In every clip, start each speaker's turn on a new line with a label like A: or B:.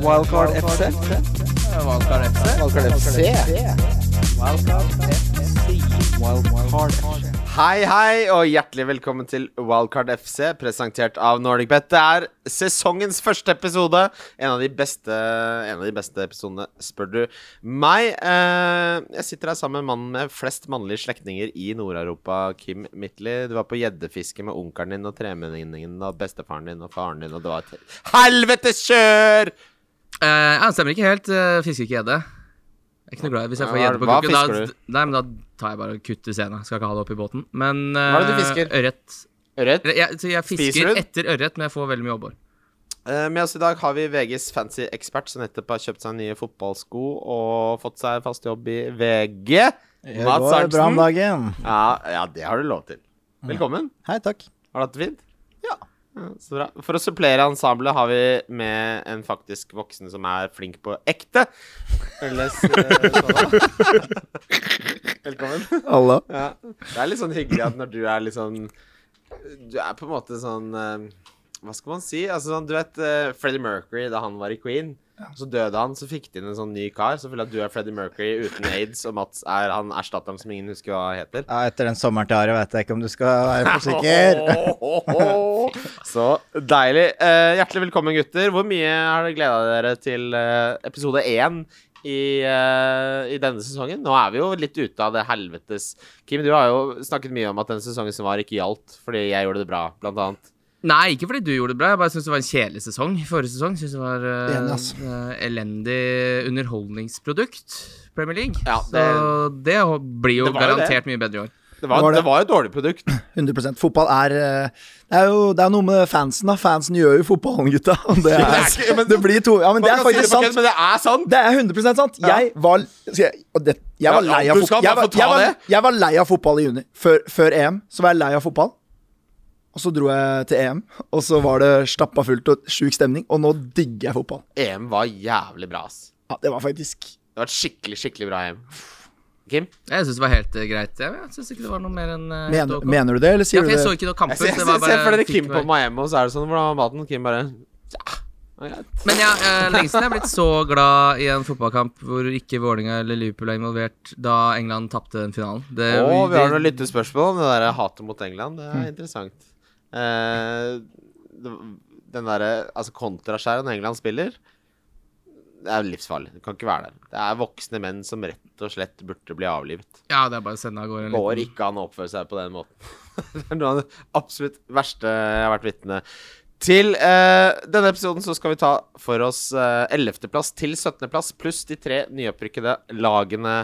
A: Wildcard FC.
B: Valgkar FC.
A: Wildcard FC. Wildcard FC.
B: Hei, hei, og hjertelig velkommen til Wildcard FC, presentert av NordicBet. Det er sesongens første episode. En av de beste, en av de beste episodene, spør du meg. Eh, jeg sitter her sammen med mannen med flest mannlige slektninger i Nord-Europa, Kim Mittli. Du var på gjeddefiske med onkelen din og tremenningen og bestefaren din og faren din, og det var et helvetes kjør!
C: Eh, ja, det stemmer ikke helt. Eh, fisker ikke gjedde. Jeg er ikke noe glad i Hvis jeg får
B: Hva-
C: gjedde på
B: hva
C: kukken, da,
B: fisker du?
C: nei, men da tar jeg bare og kutter sena. Skal ikke ha det oppi båten. Men
B: Hva er det du
C: eh,
B: fisker?
C: ørret.
B: Ørret.
C: Eller, Jeg, så jeg
B: Spiser
C: fisker
B: du den?
C: etter ørret, men jeg får veldig mye abbor.
B: Eh, Med oss i dag har vi VGs fancy ekspert som nettopp har kjøpt seg nye fotballsko og fått seg fast jobb i VG.
D: Det
B: Mads
D: går bra om
B: Arntzen.
D: dagen.
B: Ja, ja, det har du lov til. Velkommen.
D: Hei, takk.
B: Har du hatt det fint? Ja. Så bra. For å supplere ensemblet har vi med en faktisk voksen som er flink på ekte. Ellers eh, sånn. Velkommen.
D: Hallo.
B: Ja. Det er litt sånn hyggelig at når du er litt sånn Du er på en måte sånn eh, Hva skal man si? Altså sånn, Du vet eh, Freddie Mercury da han var i Queen. Så døde han, så fikk de inn en sånn ny kar. Så føler jeg at du er Freddie Mercury uten aids, og Mats er han erstatteren som ingen husker hva heter.
D: Ja, etter den sommeren til Are vet jeg ikke om du skal være for sikker.
B: Så deilig. Eh, hjertelig velkommen, gutter. Hvor mye har dere gleda dere til eh, episode én i, eh, i denne sesongen? Nå er vi jo litt ute av det helvetes Kim, du har jo snakket mye om at den sesongen som var, ikke gjaldt fordi jeg gjorde det bra, blant annet.
C: Nei, ikke fordi du gjorde det bra. Jeg bare syns det var en kjedelig sesong. Forrige sesong syns det var eh,
D: Enig, ass.
C: eh, elendig underholdningsprodukt. Premier League.
B: Ja,
C: Så det ho- blir jo
B: Det var jo det.
C: garantert mye bedre i år.
B: Det var,
D: Var det-
B: det var et dårlig produkt.
D: 100 Fotball er eh, Det er jo det er noe med fansen, da. Fansen gjør jo fotballen, gutta. Og det,
B: Det er ikke-
D: er,
B: men-
D: det blir to Ja, men det
B: Man
D: er
B: kan si
D: faktisk
B: på kødd,
D: sant.
B: Men det er sant!
D: Det er 100 sant. Jeg var skal jeg, og det, jeg var
B: Ja,
D: lei
B: ja,
D: av
B: du skal bare
D: fotball. Jeg, var-
B: få ta
D: jeg, var-
B: det.
D: jeg var lei av fotball i juni. Før, før EM så var jeg lei av fotball. Og så dro jeg til EM, og så var det stappa fullt og sjuk stemning. Og nå digger jeg fotball.
B: EM var jævlig bra, ass.
D: Ja, det var faktisk
B: Det var et skikkelig, skikkelig bra EM. Kim?
C: Jeg syns det var helt eh, greit. Jeg, jeg syns ikke det var noe mer enn eh, helt
D: Mener,
C: ok.
D: mener du det, eller
C: Ja,
D: sier
C: for
D: du
C: jeg så
D: det?
C: ikke noe kamp.
B: Jeg ser,
C: så det
B: jeg ser,
C: var bare-
B: ser for dere
C: fikk
B: Kim på
C: bare-
B: Miami, og så er det sånn Hvordan var maten? Kim bare ja, ja, greit.
C: Men jeg, eh, lenge siden jeg har blitt så glad i en fotballkamp hvor ikke Vålinga eller Liverpool er involvert, da England tapte den finalen. Det,
B: Å, vi har noen
C: det-
B: lyttespørsmål om det der hatet mot England. Det er interessant. Eh, det- den derre altså kontraskjæren England spiller, det er livsfarlig. Det kan ikke være der. Det er voksne menn som rett og slett burde bli avlivet.
C: Ja, det er bare å sende av gårde. en liten-
B: Går ikke an å oppføre seg på den måten. Det er noe av det absolutt verste jeg har vært vitne til. Eh, denne episoden så skal vi ta for oss eh, 11.-plass til 17.-plass, pluss de tre nyopprykkede lagene.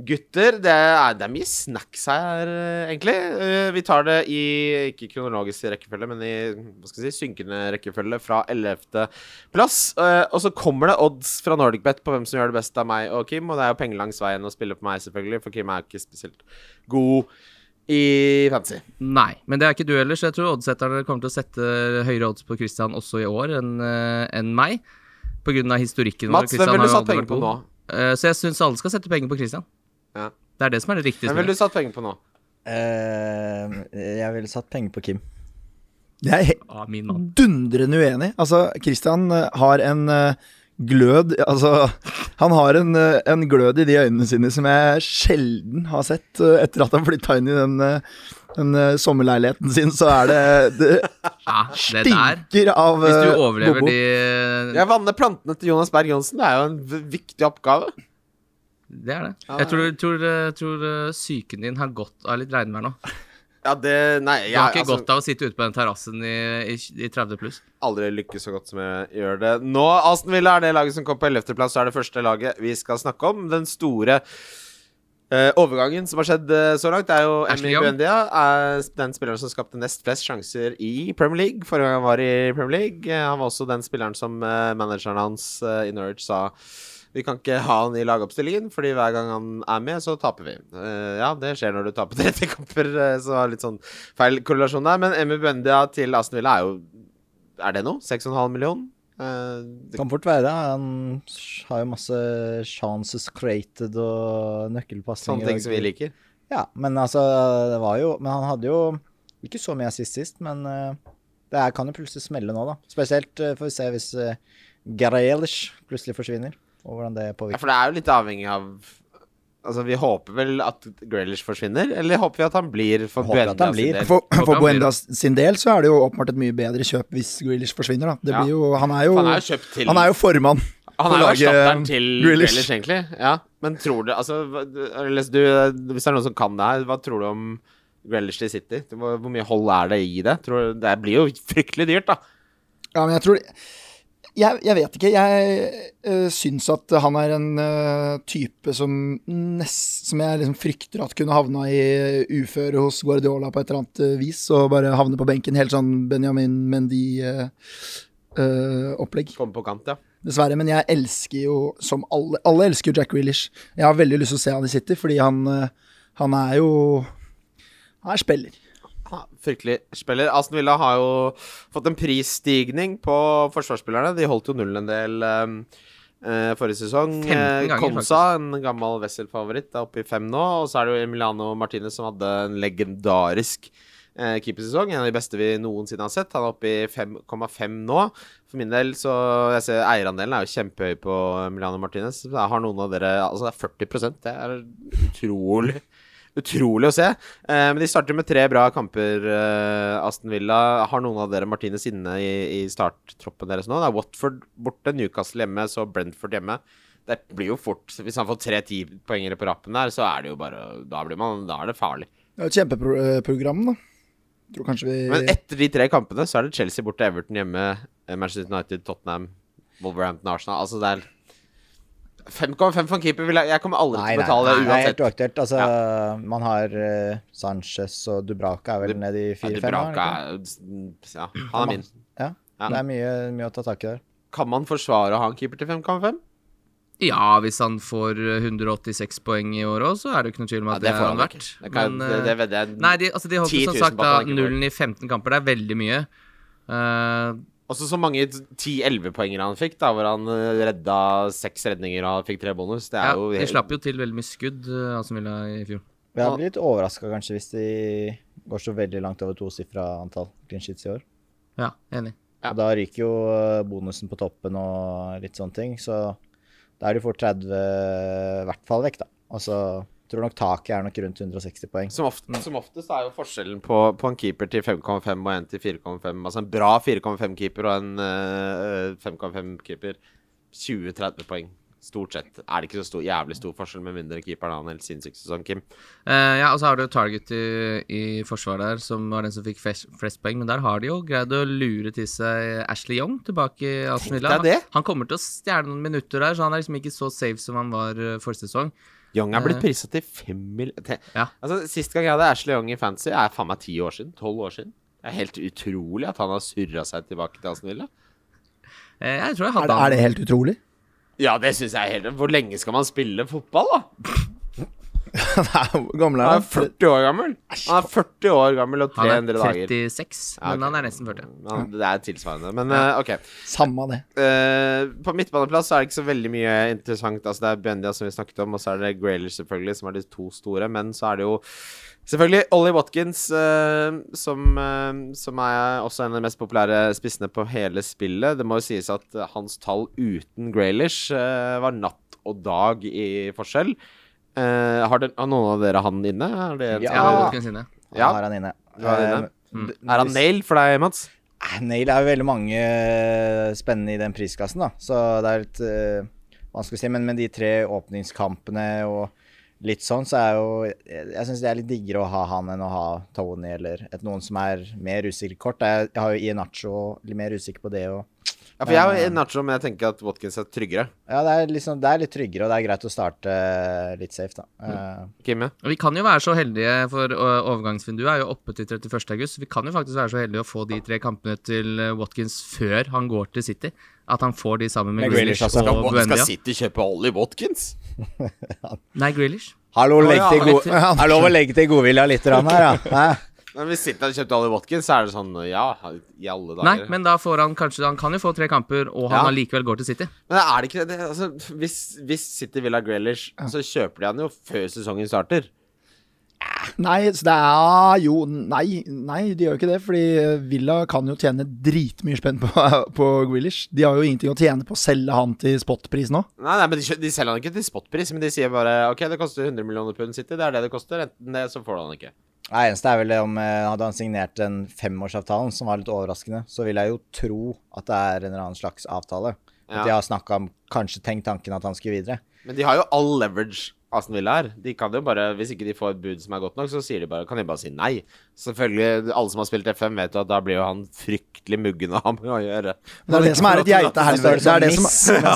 B: Gutter, det er, det er mye snacks her, eh, egentlig. Eh, vi tar det i ikke kronologisk rekkefølge, men i hva skal jeg si, synkende rekkefølge fra 11.-plass. og så kommer det odds fra NordicBet på hvem som gjør det best av meg og Kim. Og det er jo penger langs veien å spille på meg, selvfølgelig, for Kim er ikke spesielt god i fantasy.
C: Nei, men det er ikke du heller, så jeg tror oddsetterne kommer til å sette høyere odds på Christian også i år enn eh, enn meg. På grunn av historikken. vår.
B: Mats,
C: Christian
B: hvem
C: har
B: ville du
C: jo
B: satt penger
C: aldri vært
B: på nå?
C: god. Eh, så jeg syns alle skal sette penger på Christian.
B: Ja.
C: Det er det som er det riktige.
B: Hvem ville du satt penger på nå?
E: Eh,
D: jeg ville satt penger på Kim. Jeg er helt
C: ah, min mann.
D: dundrende uenig. Altså, Christian eh, har en eh, glød Altså, han har en, eh, en glød i de øynene sine som jeg sjelden har sett eh, etter at han flytta inn i den, eh, den eh, sommerleiligheten sin, så er det Det
C: Ja, Ah, det der.
D: stinker av
C: Hvis
D: eh,
C: du overlever
D: Bobo.
C: de
B: Jeg vanner plantene til Jonas Berg Johnsen. Det er jo en v- viktig oppgave.
C: Det er det.
B: Ja,
C: Jeg tror, tror, tror eh, psyken din har godt av litt regnvær nå.
B: Ja, det Nei, jeg
C: Du har ikke
B: altså-
C: godt av å sitte ute på den terrassen i, i, i 30 pluss.
B: aldri lykkes så godt som jeg gjør det nå. Aston Villa er det laget som kom på 11.-plass, så er det første laget vi skal snakke om. Den store eh, overgangen som har skjedd eh, så langt, er jo
C: Ashley
B: Emmy
C: Young.
B: Buendia. Er den spilleren som skapte nest flest sjanser i Premier League forrige gang han var i Premier League. Eh, han var også den spilleren som eh, manageren hans eh, i Norwich sa vi kan ikke ha han i lagoppstillingen, fordi hver gang han er med, så taper vi. Eh, ja, det skjer når du taper 30 kamper, eh, så det er litt sånn feil korrelasjon der. Men Emmy Buendia til Aston Villa er jo er det noe? 6,5 million? Eh, det,
E: Kan fort være. Han har jo masse chances created og nøkkelpasninger.
B: sånne ting som vi liker.
E: Ja, men altså, det var jo Men han hadde jo ikke så mye assist sist, men eh, det her kan jo plutselig smelle nå, da. Spesielt eh, får vi se hvis eh, Grealish plutselig forsvinner, og hvordan det
B: Ja,
E: påvirker.
B: for det er jo litt avhengig av Altså, Vi håper vel at Grealish forsvinner, eller håper vi at han blir for
E: Håper at han
B: Buendia sin
E: blir.
B: del?
D: For, for
C: Hvordan blir det?
D: Buenda sin del så er det jo åpenbart et mye bedre kjøp hvis Grealish forsvinner, da. Det
B: Ja.
D: blir jo, han er jo,
B: For han er jo kjøpt til
D: han er jo formann.
B: Han
D: på
B: er jo
D: laget,
B: erstatteren til Grealish.
D: Grealish.
B: egentlig. Ja, Men tror du Altså, hva- Ernest, du, hvis det er noen som kan det her, hva tror du om Grealish til City? Hvor hvor mye hold er det i det? Tror du, det blir jo fryktelig dyrt, da.
D: Ja, men jeg tror Jeg, jeg vet ikke. Jeg øh, syns at han er en øh, type som nest, Som jeg liksom frykter at kunne havna i uføre hos Guardiola på et eller annet øh, vis, og bare havne på benken. Helt sånn Benjamin eh, Mendy-opplegg.
B: Kommer på kant, ja.
D: Dessverre, men jeg elsker jo som alle Alle elsker jo Jack Grealish. Jeg har veldig lyst til å se han i City, fordi han, eh, han er jo Han er spiller.
B: Ja, Fryktelig spiller. Aston Villa har jo fått en prisstigning på forsvarsspillerne. De holdt jo nullen en del ehm, eh, forrige sesong.
C: 15 ganger,
B: Eh, Konsa, en gammel Wessel-favoritt, er oppe i fem nå. Og så er det jo Emiliano Martinez som hadde en legendarisk eh, keepersesong. En av de beste vi noensinne har sett. Han er oppe i 5,5 nå. For min del så jeg ser Eierandelen er jo kjempehøy på Emiliano Martinez. Jeg har noen av dere Altså, det er 40 Det er utrolig Utrolig å se. Eh, men de starter med tre bra kamper, eh, Aston Villa. Har noen av dere Martinez inne i, i starttroppen deres nå? Det er Watford borte, Newcastle hjemme, så Brentford hjemme. Det blir jo fort Hvis han får tre tipoengere på rappen der, så er det jo bare Da, blir man, da er det farlig.
D: Det er jo et kjempeprogram, da. Tror kanskje vi
B: Men
E: Eh,
B: etter de tre kampene så er det Chelsea borte, Everton hjemme, eh, Manchester United, Tottenham, Wolverhampton, Arsenal. Altså det er 5,5 for en keeper. vil Jeg, jeg kommer aldri
E: Nei, nei,
B: til å betale
E: nei, det
B: det
E: er helt
B: uansett.
E: uaktuelt. Altså, Man har eh, Sanchez og Dubraka er vel nede i
B: Ja,
E: fire-fem?
B: Dubravka er- mm, ja, han er min.
E: Ja.
B: Ja.
E: Det er mye, mye å ta tak i der.
B: Kan man forsvare å ha en keeper til 5,5?
C: Ja, hvis han får 186 poeng i år òg, så er det jo ikke noe tvil om
B: Ja,
C: at det,
B: får
C: har han
B: nok.
C: vært.
B: Det, kan,
C: Men,
B: det,
C: eh,
B: det vedder jeg.
C: Nei, de, altså, de holdt jo
B: 10 000
C: som sagt
B: på at
C: da
B: han ikke får.
C: nullen i 15 kamper. Det er veldig mye. Eh,
B: Også så mange 10-11 poenger han fikk, da, hvor han eh, redda seks redninger og fikk tre bonus. Det er
C: ja,
B: jo
C: de slapp jo til veldig mye skudd, eh, Aston Villa, i fjor.
E: Jeg blir litt overraska kanskje hvis de går så veldig langt over tosifra antall clean sheets i år.
C: Ja, enig.
B: Ja.
E: Og da ryker jo eh, bonusen på toppen og litt sånne ting, så da er de fort 30 i hvert fall vekk, da. Altså, jeg tror nok taket er nok rundt 160 poeng.
B: Som, ofte,
C: Mm.
B: som oftest er jo forskjellen på, på en keeper til 5,5 og en til 4,5 Altså en bra 4,5-keeper og en eh, 5,5-keeper 20-30 poeng. Stort sett er det ikke så stor, jævlig stor forskjell, med mindre keeperen har en helt sinnssyk sesong, Kim.
C: Eh, ja, og så har du Target i, i forsvaret der, som var den som fikk flest, flest poeng. Men der har de jo greid å lure til seg Ashley Young tilbake i Aston Villa.
B: deg det.
C: Han, han kommer til å stjele noen minutter der, så han er liksom ikke så safe som han var eh, forrige sesong.
B: Young er blitt
C: Eh.
B: prisa til fem mil... Til,
C: Ja.
B: Altså, Sist gang jeg hadde Ashley Young i fantasy, er faen meg ti år siden. Tolv år siden. Det er helt utrolig at han har surra seg tilbake til Aston Villa.
C: Eh, jeg tror jeg
D: er, det,
C: hadde
D: er det helt utrolig?
B: Ja, det syns jeg er helt Hvor lenge skal man spille fotball, da?
D: Nei, Hvor gammel er
B: Han er
D: han?
B: 40 år gammel. Han er 40 år gammel og
C: han. Han
B: 300
C: er
B: dager.
C: 36,
B: Ja, ok.
C: men han er nesten 40.
B: Ja, det er tilsvarende. Men eh, OK.
D: Samme det.
B: Eh, på midtbaneplass så er det ikke så veldig mye interessant. Altså Det er Bendia som vi snakket om, og så er det Grayler selvfølgelig, som er de to store. Men så er det jo selvfølgelig Ollie Watkins, eh, som, eh, som er også en av de mest populære spissene på hele spillet. Det må jo sies at eh, hans tall uten Graylish eh, var natt og dag i forskjell. Eh, har, den- har noen av dere han inne? Er det en som-
C: Ja,
E: Ja.
C: Watkins inne.
E: Han
B: Ja.
E: har han inne.
B: Du har Mm. han inne.
E: Eh, d-
B: Er han nail for deg, Mats?
E: Eh, Nail er jo veldig mange eh, spennende i den prisklassen, da. Så det er litt eh, vanskelig å si. Men med de tre åpningskampene og litt sånn, så er jo Jeg, jeg syns det er litt diggere å ha han enn å ha Tony eller et, noen som er mer usikker kort. Jeg, jeg har jo Ienacho litt mer usikker på det og
B: Ja, for jeg er jo nacho, men jeg tenker at Watkins er tryggere.
E: Ja, det er, liksom, det er litt tryggere, og det er greit å starte litt safe, da. Eh,
B: Kim, ja.
C: Og Vi kan jo være så heldige, for ø, overgangsvinduet er jo oppe til 31. august. så Vi kan jo faktisk være så heldige å få de tre kampene til ø, Watkins før han går til City. At han får de sammen
E: Med
C: med
E: Grealish,
C: Grealish
E: altså.
B: Skal,
C: og Buendia.
B: skal City kjøpe Ollie Watkins?
C: Nei, Grealish.
E: Hallo, legg
B: ja,
E: til
B: han
E: god, er lov å legge til godvilja litt grann her, ja. Hæ?
B: Men Hvis City hadde kjøpt Ollie Watkins, så er det sånn Ja, i alle dager.
C: Nei, men da får han kanskje Han kan jo få tre kamper, og han
B: Ja.
C: allikevel går til City.
B: Men er det ikke det? Altså, hvis, hvis City vil ha Grealish, så kjøper de han jo før sesongen starter.
D: Nei, så det er jo Nei, nei de gjør jo ikke det. Fordi Villa kan jo tjene dritmye spenn på, på Grealish. De har jo ingenting å tjene på å selge han til spotpris nå.
B: Nei, nei, men de, kjø- de selger han ikke til spotpris, men de sier bare OK, det koster 100 millioner pund City, det er det det koster. Enten det, så får du han ikke.
E: Nei, eneste er vel det om eh, Hadde han signert den femårsavtalen, som var litt overraskende, så vil jeg jo tro at det er en eller annen slags avtale. At
B: Ja.
E: de har snakka om Kanskje tenkt tanken at han skulle videre.
B: Men de har jo all leverage Aston Villa her. De kan jo bare, Hvis ikke de får et bud som er godt nok, så sier de bare, kan de bare si nei. Selvfølgelig, Alle som har spilt F5, vet jo at da blir jo han fryktelig muggen å ha med å gjøre.
D: Det er det som er et geitehelvete. Det er det som
E: miss, men sånn, eh,
D: Men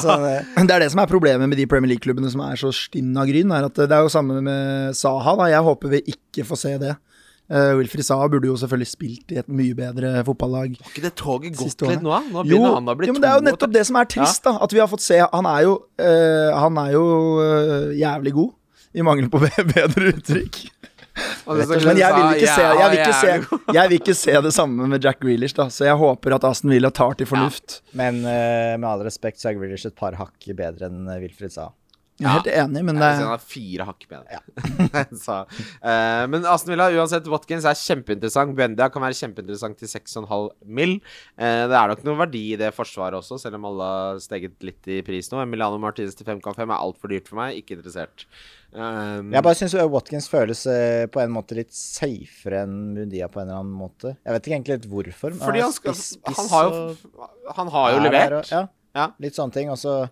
D: altså, Det er det som er problemet med de Premier League-klubbene som er så stinn av gryn. Er at det er jo samme med Saha. da, Jeg håper vi ikke får se det. Uh, Wilfrid Saha burde jo selvfølgelig spilt i et mye bedre fotballag.
B: Har ikke det toget
D: Siste
B: gått
D: årene.
B: litt nå? da? Nå begynner han å bli
D: jo, men Det er jo
B: to-
D: nettopp det som er trist, da. At vi har fått se Han er jo, eh, han er jo eh, jævlig god. I mangel på be- bedre uttrykk.
B: Og det som
D: Men jeg vil
B: Glenn sa,
D: ikke se, jeg vil
B: ja, jævlig
D: ikke se, jeg vil ikke se det samme med Jack Grealish, da. Så jeg håper at Aston Villa tar til fornuft.
E: Men eh, med all respekt så er Grealish et par hakk bedre enn eh, Wilfred sa.
D: Jeg er helt enig, men det
B: Jeg vil si han har fire hakk bedre. Så, eh, men Aston Villa, uansett, Watkins er kjempeinteressant. Buendia kan være kjempeinteressant til 6,5 mill. Eh, det er nok noe verdi i det forsvaret også, selv om alle har steget litt i pris nå. Emiliano Martinez til 5,5 er altfor dyrt for meg. Ikke interessert. Um,
E: Jeg bare syns Watkins føles eh, på en måte litt safere enn Mundia på en eller annen måte. Jeg vet ikke egentlig helt hvorfor. men
B: fordi han, skal, han har
E: og-
B: jo, han har jo
E: er der
B: levert.
E: og- Ja,
B: Ja.
E: litt sånne ting. Og så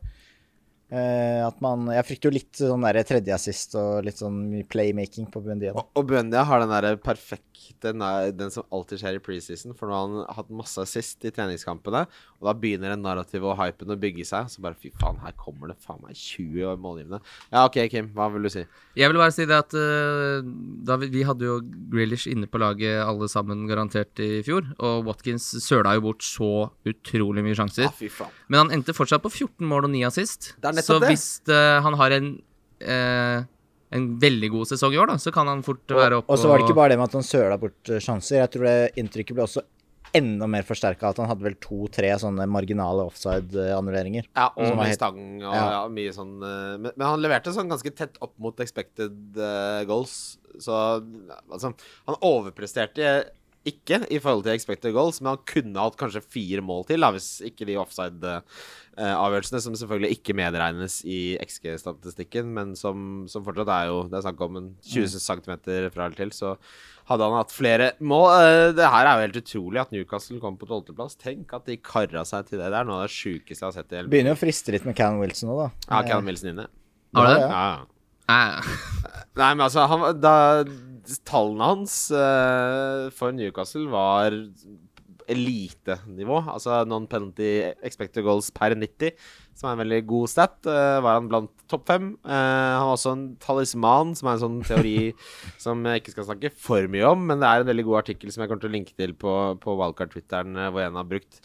E: eh, at man Jeg frykter jo litt sånn derre tredjeassist og litt sånn mye playmaking på Bundia.
B: Og- Og Buendia har den der perfekte den, er- den som alltid skjer i preseason. For nå har han hatt masse assist i treningskampene, og da begynner den narrativet og hypen å bygge seg. Så bare fy faen, her kommer det faen meg 20 år målgivende. Ja, OK, Kim, hva vil du si?
C: Jeg vil bare si det at eh, da vi, vi hadde jo Grealish inne på laget alle sammen garantert i fjor, og Watkins søla jo bort så utrolig mye
B: Ja,
C: sjanser.
B: Ah, fy faen.
C: Men han endte fortsatt på 14 mål og 9 assist.
B: Det er nettopp
C: Så
B: det.
C: hvis eh, han har en, eh, en veldig god sesong i år, da, så kan han fort være oppe
E: Og så var det ikke bare det med at han søla bort eh, sjanser. Jeg tror det inntrykket ble også enda mer forsterka at han hadde vel to-tre sånne marginale eh, offside-annulleringer.
B: Ja, og
E: Som var
B: mye
E: helt-
B: stang og ja.
E: Ja.
B: mye sånn eh, men, men han leverte sånn ganske tett opp mot expected eh, goals. Så altså Han overpresterte ikke i forhold til expected goals, men han kunne hatt kanskje fire mål til, da, hvis ikke de offside-avgjørelsene, som selvfølgelig ikke medregnes i XG-statistikken, men som, som fortsatt er jo Det er snakk om en
E: Mm.
B: 20 cm fra eller til, så hadde han hatt flere mål. Eh, Det her er jo helt utrolig at Newcastle kom på tolvteplass. Tenk at de kara seg til det der. Noe av det sjukeste jeg har sett i hele
E: Begynner jo å friste litt med Can Wilson nå, da.
B: ja, Callum Wilson inne.
C: Har du det?
B: Ja, ja.
C: Nei,
B: Nei, men altså, han, var- da, tallene hans eh, for Newcastle var elitenivå. Altså non-penalty expected goals per 90, som er en veldig god stat. eh, var han blant topp fem. Eh, han var også en talisman, som er en sånn teori som jeg ikke skal snakke for mye om, men det er en veldig god artikkel som jeg kommer til å linke til på, på Wildcard-twitteren, eh, hvor en har brukt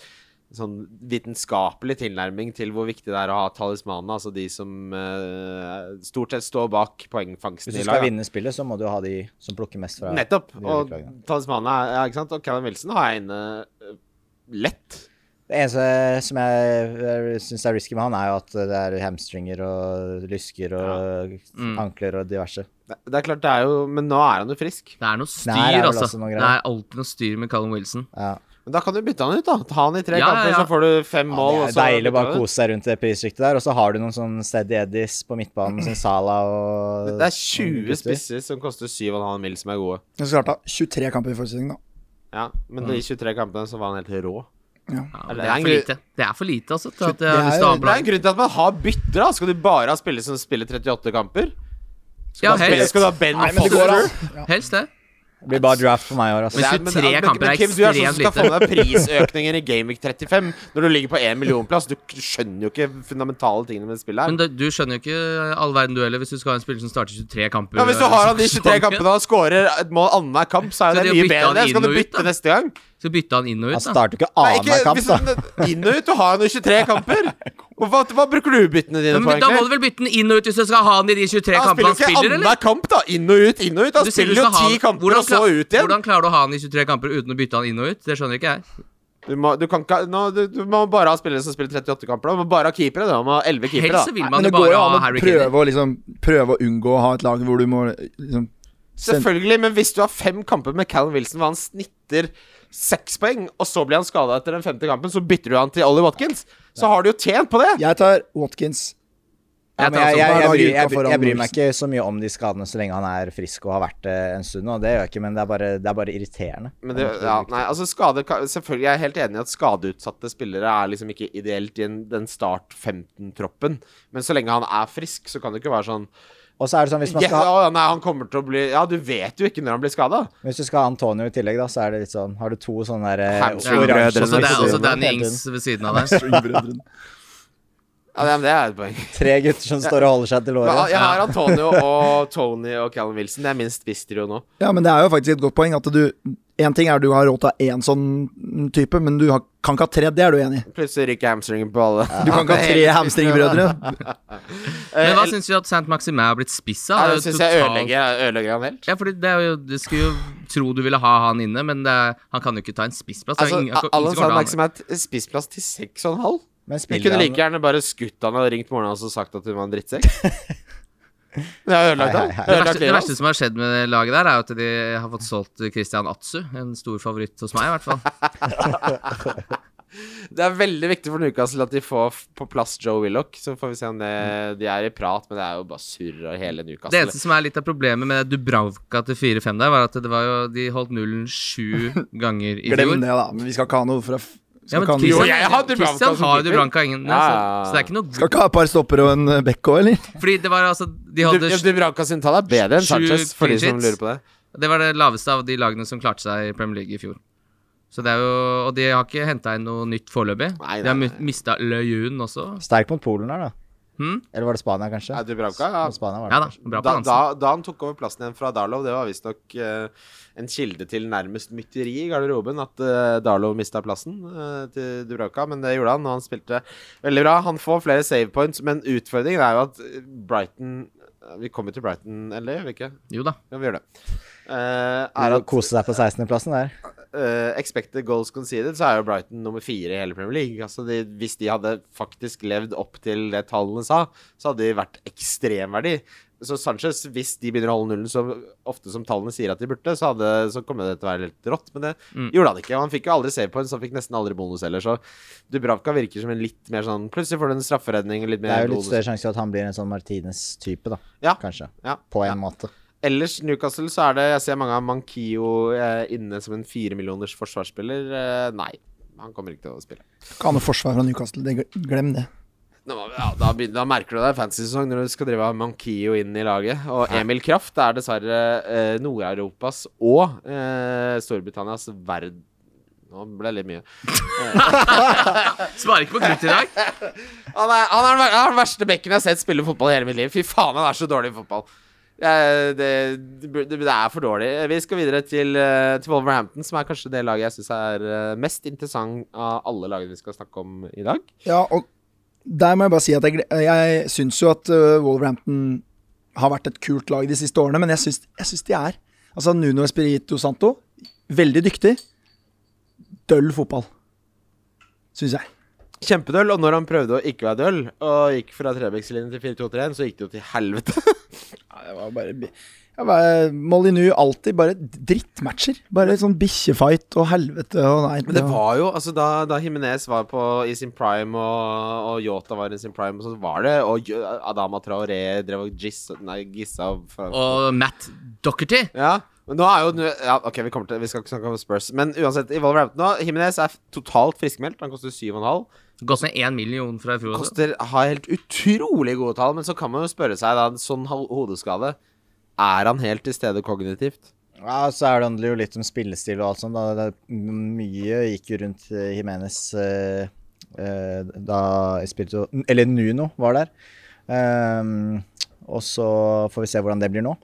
B: sånn vitenskapelig tilnærming til hvor viktig det er å ha talismanene, altså de som eh, stort sett står bak poengfangsten
E: Hvis du
B: i
E: skal
B: laget.
E: vinne spillet, så må du ha de som plukker mest fra
B: Nettopp.
E: de
B: Og
E: ulike lagene.
B: talismanen er ja, ikke sant? Og Callum Wilson har jeg inne eh, lett.
E: Det eneste som jeg syns er risky med han, er jo at det er hamstringer og lysker og
C: Mm.
E: ankler og diverse.
B: Det, det er klart, det er jo Men nå er han jo frisk.
C: det er noe styr,
E: Nei, det er vel
C: altså.
E: også noe
C: Det
E: greier.
C: er alltid noe styr med Callum Wilson.
E: Ja.
B: Men da kan du bytte han ut, da. Ta han i tre
C: Ja,
B: kamper,
C: ja, ja.
B: så får du fem mål.
E: det er deilig å bare kose seg rundt det prissjiktet der. Og så har du noen sånn steady eddies på midtbanen, som Sala og
B: Det er 20 spisser som koster 7,5 mil, som er gode.
D: Jeg starta 23 kamper i forestillingen, da.
B: Ja, Men de 23 kampene så var han helt rå.
C: Ja,
B: Er det
C: det er
B: en
C: for
B: gru-
C: lite. Det er for lite, altså. Til at
D: Det
C: jeg har
D: er-
C: lyst til
B: Det er
C: å
B: en
C: avblande.
B: grunn til at man har bytter, da. Skal du bare ha spillere som spiller 38 kamper?
C: Ja,
B: Skal, du, ha-
C: helst,
B: skal du ha Ben
D: Nei, men det går an.
C: helst det.
E: Det blir bare draft for meg i år, altså.
C: Men
B: Det er-
C: 23 kamper er
B: Kim, du er sånn som skal
C: ekstremt
B: få med deg prisøkninger i Gameweek 35 når du ligger på 1 millionplass. Du skjønner jo ikke fundamentale tingene med det spillet her.
C: Men du, du skjønner jo ikke all verden du heller, hvis du skal ha en spiller som starter 23 kamper. eh,
B: Ja, Hvis du har han de
C: Så-
B: 23 kampene og scorer et mål annenhver kamp, så er
C: Skal
B: jo det mye
C: de bytte
B: bedre.
C: han inn
B: Skal du
C: og ut,
B: bytte
C: da?
B: neste gang?
C: Skal bytte han inn og
E: Han
C: ut, da.
E: starter jo ikke
B: Nei, ikke
E: annenhver kamp,
B: hvis
E: da.
B: du- inn og ut. Du har han i 23 kamper. Og Hva, hva bruker du byttene
C: Ja,
B: dine på,
C: Men da
B: egentlig?
C: må du vel bytte den inn og ut hvis du skal ha han i de 23
B: Han spiller
C: kampene han
B: jo ikke
C: spiller, eller?
B: annenhver kamp, da. Inn og ut, inn og ut. Han
C: Du sier du
B: spiller jo
C: skal ha
B: ti
C: han-
B: kamper
C: hvordan
B: og så
C: kla-
B: ut igjen.
C: Hvordan klarer du å ha han i 23 kamper uten å bytte han inn og ut? Det skjønner ikke jeg.
B: Du, må, du, kan ikke, nå, du, du må bare ha spillere som spiller 38 kamper. da. Du må bare ha keepere. da. Du må ha 11 keepere.
C: Helst
B: da.
C: så vil
D: Men
C: man
D: det
C: jo bare
D: går jo
C: ha
D: an å
C: Harry Kane.
D: prøve å, liksom, prøve å unngå å ha et lag hvor du må liksom,
B: Selvfølgelig, men hvis du har fem kamper med Callum Wilson hvor han snitter seks poeng, og så blir han skada etter den femte kampen, så bytter du han til Ollie Watkins, så har du jo tjent på det!
D: Jeg tar Watkins.
E: Ja,
C: Jeg
E: men
C: tar
E: jeg,
C: også
E: jeg, jeg,
D: Bare
E: bryr,
D: uka
E: jeg, bryr,
D: foran
E: jeg bryr meg
D: Olsen.
E: ikke så mye om de skadene så lenge han er frisk og har vært det en stund. Og det gjør jeg ikke, men det er bare, det er bare irriterende.
B: Men det, ja, nei, altså skade, ka- selvfølgelig, Jeg er helt enig i at skadeutsatte spillere er liksom ikke ideelt i en, den start 15-troppen. Men så lenge han er frisk, så kan det ikke være sånn
E: Og så er det sånn, hvis, man
B: ja,
E: skal,
B: å, nei, han kommer til å bli Ja, du vet jo ikke når han blir skada.
E: ha- hvis du skal ha Antonio i tillegg, da, så er det litt sånn Har du to sånne der eh,
B: Hamstring.
E: oransje
C: Ja, også, det er
E: sykdommer
C: også Danny
E: hele tiden?
C: Ings ved siden av der.
D: Stringbrødrene.
B: Ja, det, men det er et poeng.
E: Tre gutter som står og holder seg til
B: Men,
E: låret.
B: jeg har Antonio og Tony og Callum Wilson. Det er minst bistro nå.
D: Ja, men det er jo faktisk et godt poeng at du Én ting er du har råd til én sånn type, men du har, kan ikke ha tre. Det er du enig i.
B: Plutselig ryker hamstringen på alle.
D: Du kan ikke ha tre hamstringbrødre.
C: Men hva syns vi at Saint Maxime er blitt spiss av?
B: Ja,
C: Det
B: Eh, det
C: er jo
B: syns jeg
C: totalt-
B: ødelegger, ødelegger han helt.
C: Ja, fordi det er jo Du skulle jo tro du ville ha han inne, men det er, han kan jo ikke ta en spissplass.
B: Altså, Alan
C: sa
B: Sandberg som er et spissplass til 6,5.
E: Men
B: Vi
E: spiller
B: kunne like
E: han
B: gjerne bare skutt han og ringt moren hans og sagt at hun var en drittsekk. Det har ødelagt
E: Hei,
B: han.
E: hei, hei.
B: Det har
C: det verste,
B: ødelagt
C: det
B: livet
C: verste
B: hans.
C: som har skjedd med det laget der, er jo at de har fått solgt Christian Atsu. En stor favoritt hos meg, i hvert fall.
B: Det er veldig viktig for Newcastle at de får f- på plass Joe Willoch. Så får vi se om det,
E: Mm.
B: de er i prat, men det er jo bare surr og hele
C: Det
B: Newcastle.
C: eneste som er litt av problemet med Dubravka til 4-5 der, var at det var jo, de holdt nullen sju ganger i
D: Glem
C: fjor.
D: det, da. Men vi skal ikke ha noe fra f-
C: Ja,
D: Skal
C: men
D: ikke ha
B: Jo,
D: noe-
B: jeg har
C: Christian,
B: Dubravka
C: Christian
B: som
C: har jo
B: keeper.
C: Dubravka ingen
B: Ja, ja, ja.
C: så, så det er ikke noe
D: skal ikke ha et par stopper og en bekk òg, eller?
C: Fordi det var altså De
B: Du,
C: hadde
B: ja, Dubravka sin tall er bedre enn
C: Sju
B: Sanchez, for de som
C: clean sheets.
B: lurer på det.
C: Det var det laveste av de lagene som klarte seg i Premier League i fjor. Så det er jo, Og de har ikke henta inn noe nytt foreløpig.
B: Nei,
C: De har
B: nei,
C: mi- mista Løyun også.
E: sterk mot Polen her, da.
C: Hm?
E: Eller var det Spania, kanskje?
B: Hmm? Ja, Dubravka, ja.
E: Mot Spania var det
C: Ja da,
E: kanskje.
C: bra på
B: Da, da,
C: Hansen.
B: da han tok over plassen igjen fra Darlow, det var visstnok eh, en kilde til nærmest mytteri i garderoben at eh, Darlow mista plassen eh, til Dubravka, men det gjorde han, og han spilte veldig bra. Han får flere save points, men utfordringen er jo at eh, Brighton eh, Vi kommer til Brighton, eller gjør vi ikke?
C: Jo da.
B: Ja, vi gjør det. Eh,
E: Er
B: er
E: det
B: at
E: Kose seg på 16.-plassen der.
B: eh, expected goals conceded, så er jo Brighton nummer fire i hele Premier League. Altså de, hvis de hadde faktisk levd opp til det tallene sa, så hadde de vært ekstremverdi. Så Sanchez, hvis de begynner å holde nullen så ofte som tallene sier at de burde, så, hadde, så kommer det til å være helt rått. Men det
C: Mm.
B: gjorde han ikke. Og han fikk jo aldri save points, han fikk nesten aldri bonus heller. Så Dubravka virker som en litt mer sånn Plutselig får du en strafferedning.
E: Det
B: Litt mer
E: er jo litt
B: bonus.
E: større sjanse for at han blir en sånn Martinez-type, da.
B: Ja.
E: Kanskje.
B: Ja.
E: På en
B: Ja.
E: måte.
B: Ellers Newcastle så er det Jeg ser mange av Mankio eh, inne som en fire millioners forsvarsspiller. Eh, nei, han kommer ikke til å spille.
D: Ikke ha noe forsvar fra Newcastle. Det, glem det.
B: Nå, må vi- ja, da, begynner, da merker du det er fantasy-sesong når du skal drive av Mankio inn i laget. Og Emil Kraft er dessverre eh, Nord-Europas og eh, Storbritannias verd... Nå ble det litt mye.
C: Svarer ikke på krutt i dag.
B: Han er, han, er, den ver- han er den verste bekken jeg har sett spille fotball i hele mitt liv. Fy faen, han er så dårlig i fotball. Eh, Det, det, bur- det er for dårlig. Vi skal videre til, eh, til Wolverhampton, som er kanskje det laget jeg syns er eh, mest interessant av alle lagene vi skal snakke om i dag.
D: Ja, og der må jeg bare si at jeg, gle- jeg syns jo at øh, Wolverhampton har vært et kult lag de siste årene, men jeg syns, jeg syns de er Altså Nuno Espirito Santo, veldig dyktig. Døll fotball, syns jeg.
B: Kjempedøll, og når han prøvde å ikke være døll, og gikk fra trebekslinjen til 4-2-3-1, så gikk det jo til helvete.
D: Det var bare jeg var, eh, Molyneux alltid bare drittmatcher. Bare sånn bikkjefight og helvete og nei.
B: Men det var jo, altså da, da Jimenez var på, i sin prime, og, og Yota var i sin prime, og så var det Og Jø- Adama Traoré drev og giss, nei, gissa fra,
C: Og Matt Docherty.
B: Ja, men nå er jo nå- ja, Ok, vi, kommer til, vi skal ikke snakke om Spurs, men uansett, i Wolverhampton nå Jimenez er f- totalt friskmeldt. Han koster 7,5.
C: Gått ned én million fra i fjor. også.
B: Koster har helt utrolig gode tall, men så kan man jo spørre seg, da, en sånn ho- hodeskade Er han helt til stede kognitivt?
E: Ja, så er det handler jo litt om spillestil og alt sånt. Da. Det, er- mye gikk jo rundt eh, Jimenez eh, eh, da Espirito Eller Nuno var der. Ehm, og så får vi se hvordan det blir nå.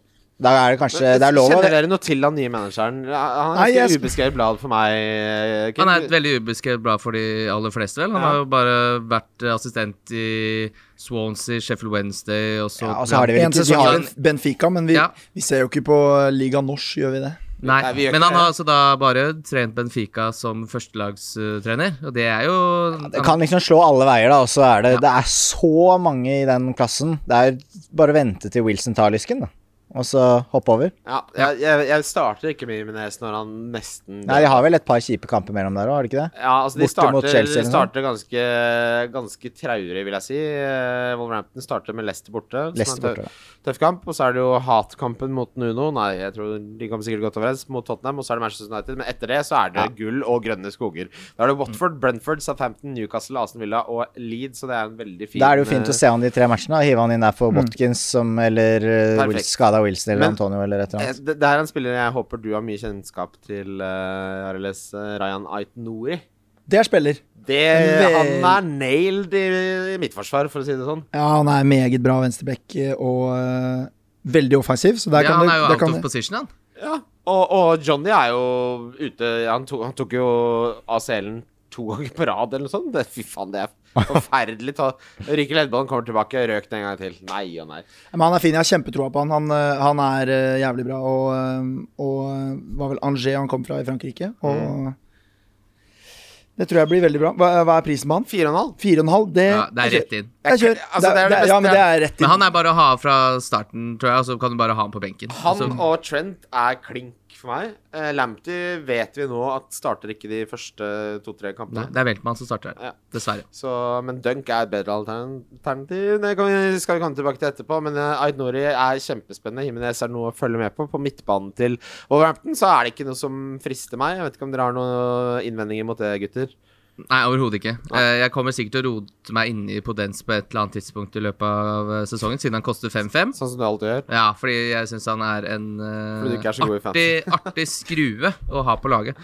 E: Da er det kanskje eh, Det er lov å
B: Kjenner dere noe til den nye manageren? Han
D: Nei,
B: er ganske
D: jeg-
B: ubeskrevet blad for meg. eh, Kim.
C: Han er et veldig ubeskrevet blad for de aller fleste, vel. Han
B: Ja.
C: har jo bare vært eh, assistent i Swansea, Sheffield Wednesday, og så
E: Ja, og så har de vel
D: En
E: ikke de
D: sesong
E: har,
D: av Benfica, men vi,
C: Ja.
D: vi ser jo ikke på eh, Liga Norsk, gjør vi det?
C: Nei,
B: Nei, vi gjør
C: men
B: ikke
C: han
B: det.
C: har altså da bare trent Benfica som førstelagstrener, og det er jo
E: Det kan liksom slå alle veier, da. Og så er det Det er så mange i den klassen. Det er bare å vente til Wilson tar lysken, da. og så hoppe over.
B: Ja, jeg, jeg, jeg starter ikke med Jimenez når han nesten
E: Nei, de har vel et par kjipe kamper mellom der òg, har de ikke det?
B: Ja, altså de
E: Borte mot
B: starter,
E: Chelsea eller noe
B: starter ganske, ganske traurig, vil jeg si. Eh, Wolverhampton starter med Leicester borte,
E: Leicester
B: som
E: borte,
B: er en tøff, tøff kamp. Og så er det jo hatkampen mot Nuno. Nei, jeg tror de kommer sikkert godt overens mot Tottenham. Og så er det Manchester United. Men etter det så er det gull og grønne skoger. Da er det Watford, Brentford, Southampton, Newcastle, Aston Villa og Leeds. Så det er en veldig fin eh,
E: Da er det jo fint å se han de tre matchene. da. Hive han inn der for Watkins som, eller eh, Wil-
B: Mm. Perfekt.
E: skada Wilson eller
B: Men-
E: Antonio eller et eller
B: Eh,
E: annet.
B: Det, det her er en spiller jeg håper du har mye kjennskap til, uh, RLS eh, Ryan Ait Nouri.
D: Det er spiller.
B: Det,
D: Vel-
B: han er nailed i, i mitt forsvar, for å si det sånn.
D: Ja, han er meget bra venstreback eh, og eh, veldig offensiv, så der
C: Ja,
D: kan
C: han
D: det
C: er jo
D: der
C: out
D: kan
C: of
D: det-
C: position, han.
B: Ja, og, og Johnny er jo ute Han, to, han tok jo ACL-en to ganger på rad eller noe sånt. Det, fy faen, det er forferdelig. Ta, ryker leddbånd, kommer tilbake, røk den en gang til. Nei og nei.
D: Men han er fin. Jeg har kjempetroa på han. Han, eh, han er eh, jævlig bra. Og, eh, og eh, var vel Angers han kom fra i Frankrike. Og
C: Mm.
D: det tror jeg blir veldig bra. Hva, hva er prisen på han?
B: Fire og en halv.
D: Fire og en halv? Det,
C: Ja, det er rett inn.
D: Jeg kjører.
B: Altså,
D: det,
B: det er
D: er
B: det beste.
D: ja, men det er rett inn.
C: Men han er bare å ha fra starten, tror jeg, og så kan du bare ha han på benken.
B: Han
C: Så-
B: og Trent er klink for meg. Eh, Lamptey vet vi nå at starter ikke de første to-tre
C: Nei,
B: kampene.
C: det er Weltmann som starter
B: Ja.
C: her. Dessverre.
B: Så, men Dunk er et bedre altern- alternativ. Det kan vi, skal vi komme tilbake til etterpå. Men eh, Ait Nori er kjempespennende. Jimenez er noe å følge med på. På midtbanen til Wolverhampton så er det ikke noe som frister meg. Jeg vet ikke om dere har noen innvendinger mot det, gutter.
C: Nei, overhodet ikke. Eh, Jeg kommer sikkert til å rote meg inni Podence på et eller annet tidspunkt i løpet av eh, sesongen, siden han koster 5-5.
B: Sånn som du alltid gjør.
C: Ja, fordi jeg syns han er en eh,
B: Fordi du ikke er så god i
C: artig, artig skrue å ha på laget.
B: eh,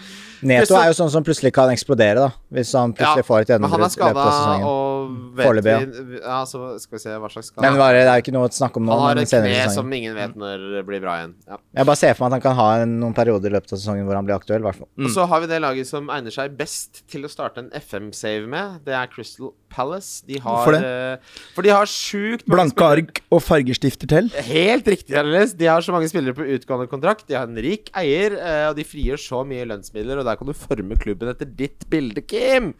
E: Neto
B: Christian-
E: er jo sånn som plutselig kan eksplodere, da. Hvis han plutselig får et
B: men han
E: gjennombrudd i
B: er
E: løpet
B: skada
E: av sesongen.
B: og vet vi,
E: Foreløpig,
B: ja, så Skal vi se hva slags
E: Men
B: skade
E: bare, det er jo ikke noe å snakke om nå.
B: Han har
E: men
B: et
E: senere i
B: kne
E: sesongen. Mm.
B: som ingen vet når det blir bra igjen. Ja.
E: Jeg bare ser for meg at han kan ha en, noen perioder i løpet av sesongen hvor han blir aktuell, i hvert fall.
D: Mm.
B: Og så har vi det laget som egner seg best til å starte en FM-save med. Det er Crystal Palace. De har,
D: Hvorfor det?
B: eh, For de har sjukt mange
D: Blanke ark og fargestifter til.
B: Helt riktig, Ernest. De har så mange spillere på utgående kontrakt. De har en rik eier, eh, og de frigjør så mye lønnsmidler, og der kan du forme klubben etter ditt bilde, Kim!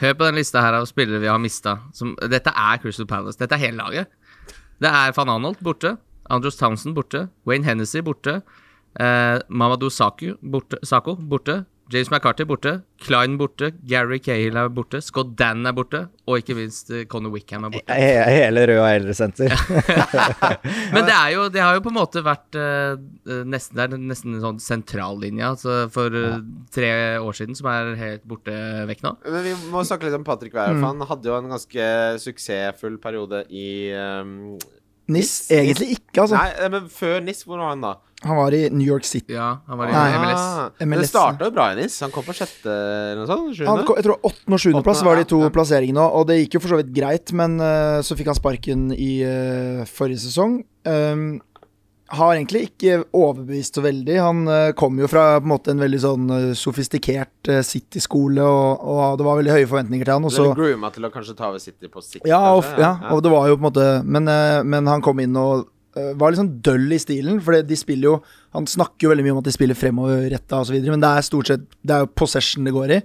C: Hør på den lista her av spillere vi har mista. Dette er Crystal Palace. Dette er hele laget. Det er van Anholt borte. Andros Townsend borte. Wayne Hennessy borte. Eh, Mamadou Saku borte, Sako borte. James McCarthy borte. Klein borte. Gary Cahill er borte. Scott Dan er borte. Og ikke minst eh, Conor Wickham er borte.
E: He- Hele Rød og Eldresenter.
C: Men det, er jo, det har jo på en måte vært eh, eh, nesten, det er nesten en sånn sentrallinja altså for eh, tre år siden, som er helt borte vekk nå.
B: Men vi må snakke litt om Patrick Wærer,
D: Mm.
B: for han hadde jo en ganske suksessfull periode i eh,
D: Nis, egentlig ikke, altså.
B: Nei, eh, men før NIS, hvor var han da?
D: Han var i New York City.
C: Ja, han var i
D: Nei.
C: MLS.
B: Ah, Men det
D: MLS.
B: starta jo bra i NIS. Han kom på sjette eller noe sånt?
D: Han,
B: Sjuende?
D: kom- jeg tror åttende og sjuende plass
B: Åttende,
D: var de
B: ja,
D: to
B: ja.
D: plasseringene, og det gikk jo for så vidt greit, men eh, så fikk han sparken i eh, forrige sesong. Um, har egentlig ikke overbevist så veldig. Han eh, kom jo fra på en måte en veldig sånn eh, sofistikert eh, City-skole, og, og det var veldig høye forventninger til han. Og så,
B: Dere grooma til å kanskje ta over City på sikt?
D: ja, og,
B: kanskje?
D: ja, og det var jo på en måte Men, eh, men han kom inn og eh, var litt sånn døll i stilen, for de spiller jo Han snakker jo veldig mye om at de spiller fremoverretta osv., men det er stort sett Det er jo possession det går i,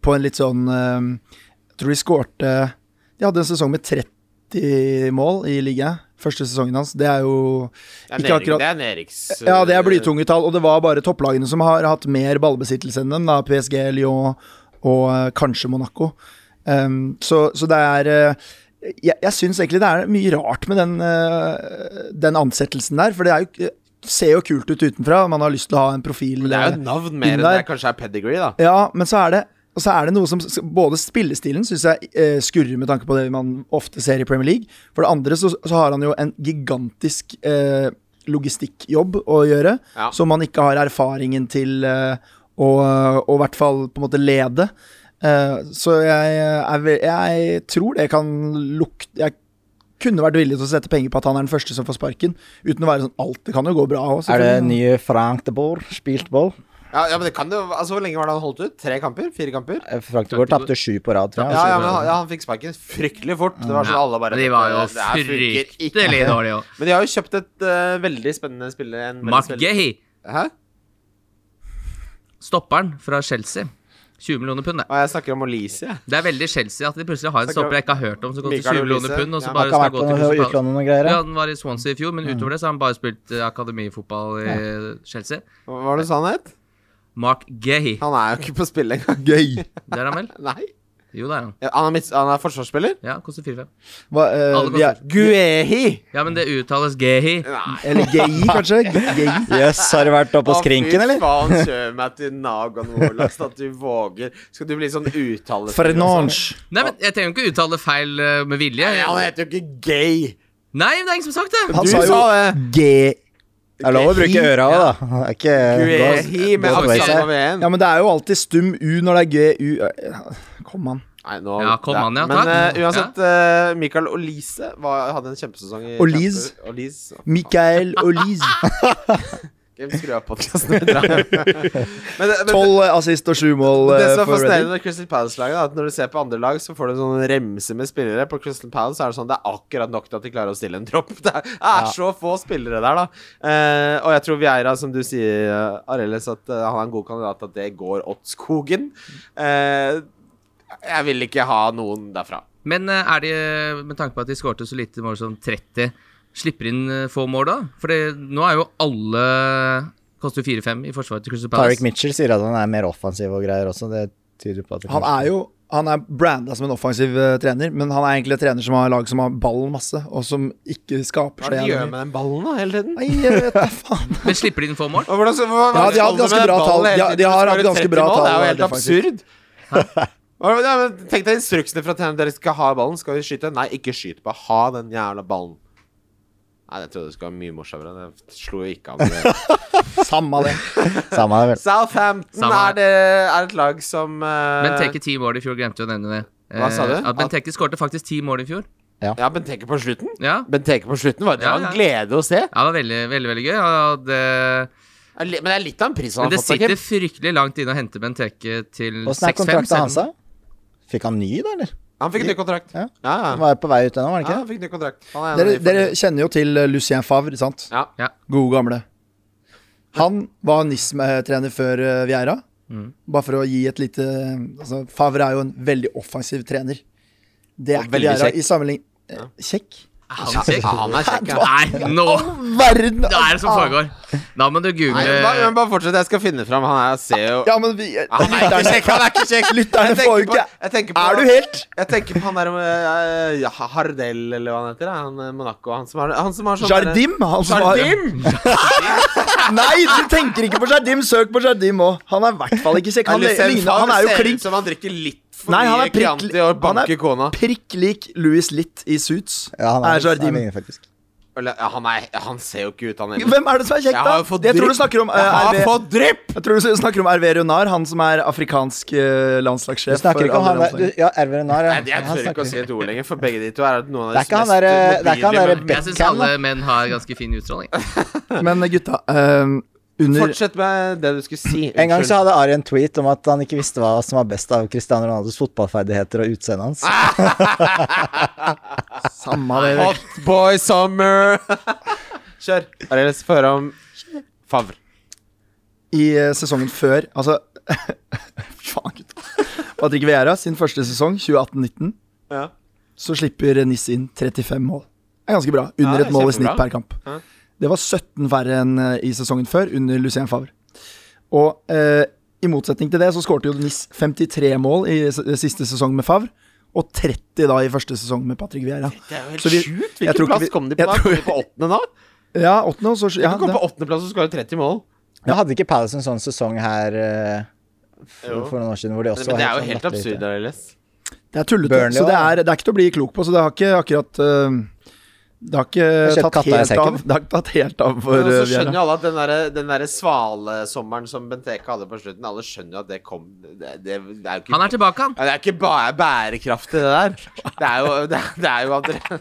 D: på en litt sånn eh, Jeg tror de skårte De hadde en sesong med 30 mål i ligaen. Første sesongen hans. Det er jo
B: Det er
D: ikke
B: nedrykk-
D: akkurat
B: Det er eh, nedrykks...
D: ja, det er blytunge tall, og det var bare topplagene som har hatt mer ballbesittelse enn dem. Da, PSG, Lyon og eh, kanskje Monaco. Um, så, så det er eh, Jeg, jeg syns egentlig det er mye rart med den, eh, den ansettelsen der, for det er jo, eh, ser jo kult ut utenfra. Man har lyst til å ha en profil.
B: Det er jo
D: eh,
B: et navn mer
D: inn
B: enn
D: der.
B: det kanskje er pedigree, da.
D: ja, men så er det og så er det noe som Både spillestilen syns jeg eh, skurrer med tanke på det man ofte ser i Premier League. For det andre så, så har han jo en gigantisk eh, logistikkjobb å gjøre,
B: Ja.
D: som man ikke har erfaringen til eh, å å i hvert fall på en måte lede. Eh, så jeg, er ve- jeg tror det kan lukte Jeg kunne vært villig til å sette penger på at han er den første som får sparken, uten å være sånn Alt det kan jo gå bra òg,
E: Er det nye Frank de Boer? Spilt ball?
B: Ja, ja, men det kan jo Altså, Hvor lenge var det han holdt ut? Tre kamper? Fire kamper?
E: Eh, Frank de Boer tapte sju på rad, tror
B: Ja,
E: jeg.
B: ja, men han, ja, han fikk sparken fryktelig fort. Det var sånn alle bare
C: Men de var jo
B: "Dette- det her funker ikke."
C: fryktelig dårlige òg.
B: Men de har jo kjøpt et eh, veldig spennende spiller. en veldig
C: Mark
B: spennende-
C: Gay,
B: Hæ?
C: stopperen fra Chelsea, 20 millioner pund, det.
B: Og jeg snakker om Olise, jeg.
C: Det er veldig Chelsea at de plutselig har en
B: Snakker om-
C: stopper jeg ikke har hørt om, som går til
B: Mikael
C: 20 millioner
B: Olise.
C: pund, og
B: Ja,
C: så
E: Han
C: bare
E: kan ha
C: skal
E: vært
C: gå
E: på
C: til
E: noe
C: Crystal Palace.
E: utlandet og noen greier.
C: Ja,
E: Ja.
C: han var i Swansea i fjor, men utover det så har han bare spilt eh, akademifotball i Chelsea.
B: Hva var det du sa han het?
C: Mark Gay,
B: Han er jo ikke på spill engang.
D: Gøy.
C: det er han vel?
B: Nei.
C: Jo, det er han.
B: Ja, Han er, midt, han er forsvarsspiller?
C: Ja, koster 4-5.
D: Hva, eh,
C: Alle
D: vi er,
B: Guehi!
C: Ja, men det uttales Gehi.
B: Nei.
D: eller gay, kanskje? Gay.
E: Yes, har du vært oppå skrinken,
B: Å,
E: eller?
B: fy faen, kjør meg til Nagan Olags at du våger. Skal du bli sånn uttale...
D: Fernange.
C: Nei, men jeg trenger jo ikke uttale feil eh, med vilje.
B: Nei, han heter jo ikke gay.
C: Nei, men det er ingen som har sagt det!
D: Han
B: Du
D: sa jo
B: sa eh, det.
D: gay.
E: Det er lov å bruke øra òg, da. Det er ikke
B: Guehi med
E: gå- gå til
B: aksent
E: vei seg.
B: over en.
D: Ja, men det er jo alltid stum U når det er GU Eh, Kom an.
B: Nei, nå,
C: Ja, kom
B: det-
C: an, ja,
B: Men
C: takk.
B: eh, uansett, eh, Michael Olise var, hadde en kjempesesong i
D: Olise.
B: Champions- Olise.
D: Mikael Oliz.
B: Hvem skrur av podcasten videre? men, det- men,
D: Tolv eh, assist og sju mål
B: det
D: eh,
B: som er
D: for
B: fascinerende
D: Reading.
B: med Crystal Palace-laget, er at når du ser på andre lag, så får du en sånn remse med spillere. På Crystal Palace er det sånn det er akkurat nok til at de klarer å stille en tropp. Det er, er så få spillere der, da. Eh, og jeg tror Vieira, som du sier, eh, Areles, at eh, han er en god kandidat, at det går åt skogen. Eh, jeg vil ikke ha noen derfra.
C: Men eh, er de, eh, med tanke på at de skårte så lite mål som 30, slipper inn eh, få mål da? For det- nå er jo alle Koster jo 4-5 i forsvaret til Crystal Palace.
E: Tariq Mitchell sier at han er mer offensiv og greier også. Det tyder på at det
D: Han
E: kanskje-
D: er jo han er branda som en offensiv eh, trener, men han er egentlig en trener som har lag som har ballen masse, og som ikke skaper
B: Hva er det de
D: jævlig
B: gjør med den ballen da, hele tiden?
D: mye. Nei, jeg vet da faen.
C: Men slipper de inn få mål?
B: Og hvordan skal- hva-
D: Ja,
B: hva
D: de har hatt
B: skal
D: ganske
B: med
D: bra
B: ballen hele
D: tall. De-
B: tiden?
D: de har
B: Skårer
D: hatt ganske
B: 30
D: bra
B: mål, Det er
D: tall,
B: jo helt
D: defensivt.
B: absurd. Hva- ja, men Tenk deg instruksene fra treneren. Dere skal ha ballen. Skal vi skyte? Nei, ikke skyt. Bare ha den jævla ballen. Nei, det trodde jeg skulle være mye morsommere. Det slo jo ikke an. det.
D: Samme det.
E: Samme er det vel.
B: Southampton
C: Samme
B: er, det, er et lag som eh,
C: Men Teke ti mål i fjor, glemte jeg å nevne det.
B: Hva sa du?
C: Eh, At Benteke skårte faktisk ti mål i fjor.
B: Ja, Benteke på slutten.
C: Ja.
B: Benteke på slutten var, det
C: Ja,
B: var en
C: ja.
B: glede å se.
C: ja, det var veldig, veldig veldig gøy. Ja, det,
B: Er li- Men det er litt av en pris han
C: men
B: har
C: det
B: fått. Kim.
C: sitter fryktelig langt inne å hente Benteke til 6-5.
E: Åssen er kontrakta
C: selv-
E: hans, da? Fikk han ny, da, eller?
B: Han fikk en ny kontrakt. Ja,
E: Ja.
B: ja.
E: Han var jo på vei ut ennå, var han
B: ja
E: ikke?
B: han fikk ny kontrakt. Han er en av
D: Dere,
B: de
D: dere
B: fornøyde.
D: kjenner jo til eh, Lucien Favre, sant?
B: ja.
D: Gode gamle. Han var NISM-trener før eh, Vieira. Bare for å gi et lite altså, Favre er jo en veldig offensiv trener. Det
B: Og
D: er ikke
B: veldig
D: Vieira
B: kjekk.
D: i sammenligning eh, Kjekk?
C: Han
B: Ja,
C: sier-
B: han er kjekk, ja.
C: Nei, nå!
D: Verden!
C: Hva er det som foregår? Da må du google
B: Nei, men bare, men bare fortsett. Jeg skal finne fram. Han er ser jo
D: Ja, men vi
B: Ja, Han er ikke
D: lytterne-
B: kjekk! Han er ikke kjekk
D: Lytterne
B: Jeg tenker
D: får jo
B: på-
D: ikke
B: jeg tenker på-
D: Er du helt
B: Jeg tenker på han der med ja, Hardell, eller hva han heter. da. Han eh, Monaco. Han som har, han som har sånn
D: Jardim? Han som var-
B: Jardim!
D: Nei, du tenker ikke på Jardim. Søk på Jardim òg. Han er i hvert fall ikke kjekk. Han, ligner, han er jo
B: ser ut
D: klink
B: som han drikker litt for
D: Nei, han
B: mye
D: er prikk-
B: Chianti og
D: han er-
B: banker kona.
D: prikk lik Louis Litt i Suits.
B: Ah.
E: Ja, han er,
D: er
E: han
D: Jardim.
E: ligner faktisk.
B: Eller, ja, han, er, han ser jo ikke ut, han heller.
D: Hvem er det som er kjekk,
B: Jeg har jo
D: da?
B: fått
D: Jeg tror du
B: drypp.
D: snakker om eh,
B: Jeg har
D: RV
B: fått drypp!
D: Jeg tror du snakker om RV Runar, han som er afrikansk eh, landslagssjef.
E: Du snakker
D: for
E: ikke om
D: alle
E: han eh, der du,
D: landslag.
E: Ja, Ervin Nar, ja.
B: Nei, Jeg
E: Han
B: tør
E: snakker-
B: ikke å si et ord lenger, for begge de to er noen
E: Det er
B: av de
E: ikke han
B: mest
E: der, eh, det er ikke han der
B: motbydelige menn.
E: Beck-
C: Jeg syns
E: Beckham,
C: alle menn har ganske fin utstråling.
D: Men eh, gutta, eh, under
B: Fortsett med det du skulle si.
E: En gang
B: Unnskyld.
E: så hadde Ari en tweet om at han ikke visste hva som var best av Cristiano Ronaldos fotballferdigheter og utseendet hans.
B: Ah!
D: Samme det.
B: Hot boy summer. Kjør. Arild, få høre om Favre.
D: i eh, sesongen før Altså Faen, gutt. Patrick Vieira, sin første sesong, 2018-19,
B: Ja.
D: så slipper Niss inn 35 mål. Det er ganske bra. Under
B: Ja,
D: et mål i
B: kjempebra.
D: snitt per kamp.
B: Ja.
D: Det var 17 færre enn eh, i sesongen før, under Lucien Favre. Og eh, i motsetning til det, så skårte jo Niss 53 mål i s- siste sesong med Favre, og 30 da i første sesong med Patrick Vieira.
B: Det er jo helt
D: Så vi-
B: sjukt.
D: jeg tror
B: Hvilken
D: ikke
B: plass
D: vi-
B: kom de på
D: jeg
B: da? Kom
D: tror-
B: de på åttende nå?
D: Ja, åttende, og så
B: Ja,
D: ja,
B: kom
D: det,
B: på åttendeplass og skåret 30 mål.
E: Men hadde ikke Palace en sånn sesong her eh,
B: Jo.
E: for, for noen år siden hvor de også
B: Men det er
E: var
B: jo
E: sånn
B: helt
E: latterlig?
B: absurd, Arild.
D: det er tullete.
E: Burnley
D: så det
E: også,
D: er, det er ikke til å bli klok på, så det har ikke akkurat eh, det har
E: Det
D: ikke
E: har skjedd
D: tatt
E: katta i
D: helt,
E: sekken.
D: av, det har ikke tatt helt av for
B: Men
D: eh,
B: så
D: Vieira.
B: skjønner jo alle at den derre- den derre svalesommeren som Benteke hadde på slutten, alle skjønner jo at det kom Det, det, det er jo ikke
C: Han er tilbake, han.
B: ja, det er ikke bare bærekraftig, det der. Det er jo, det, det er jo, Adri-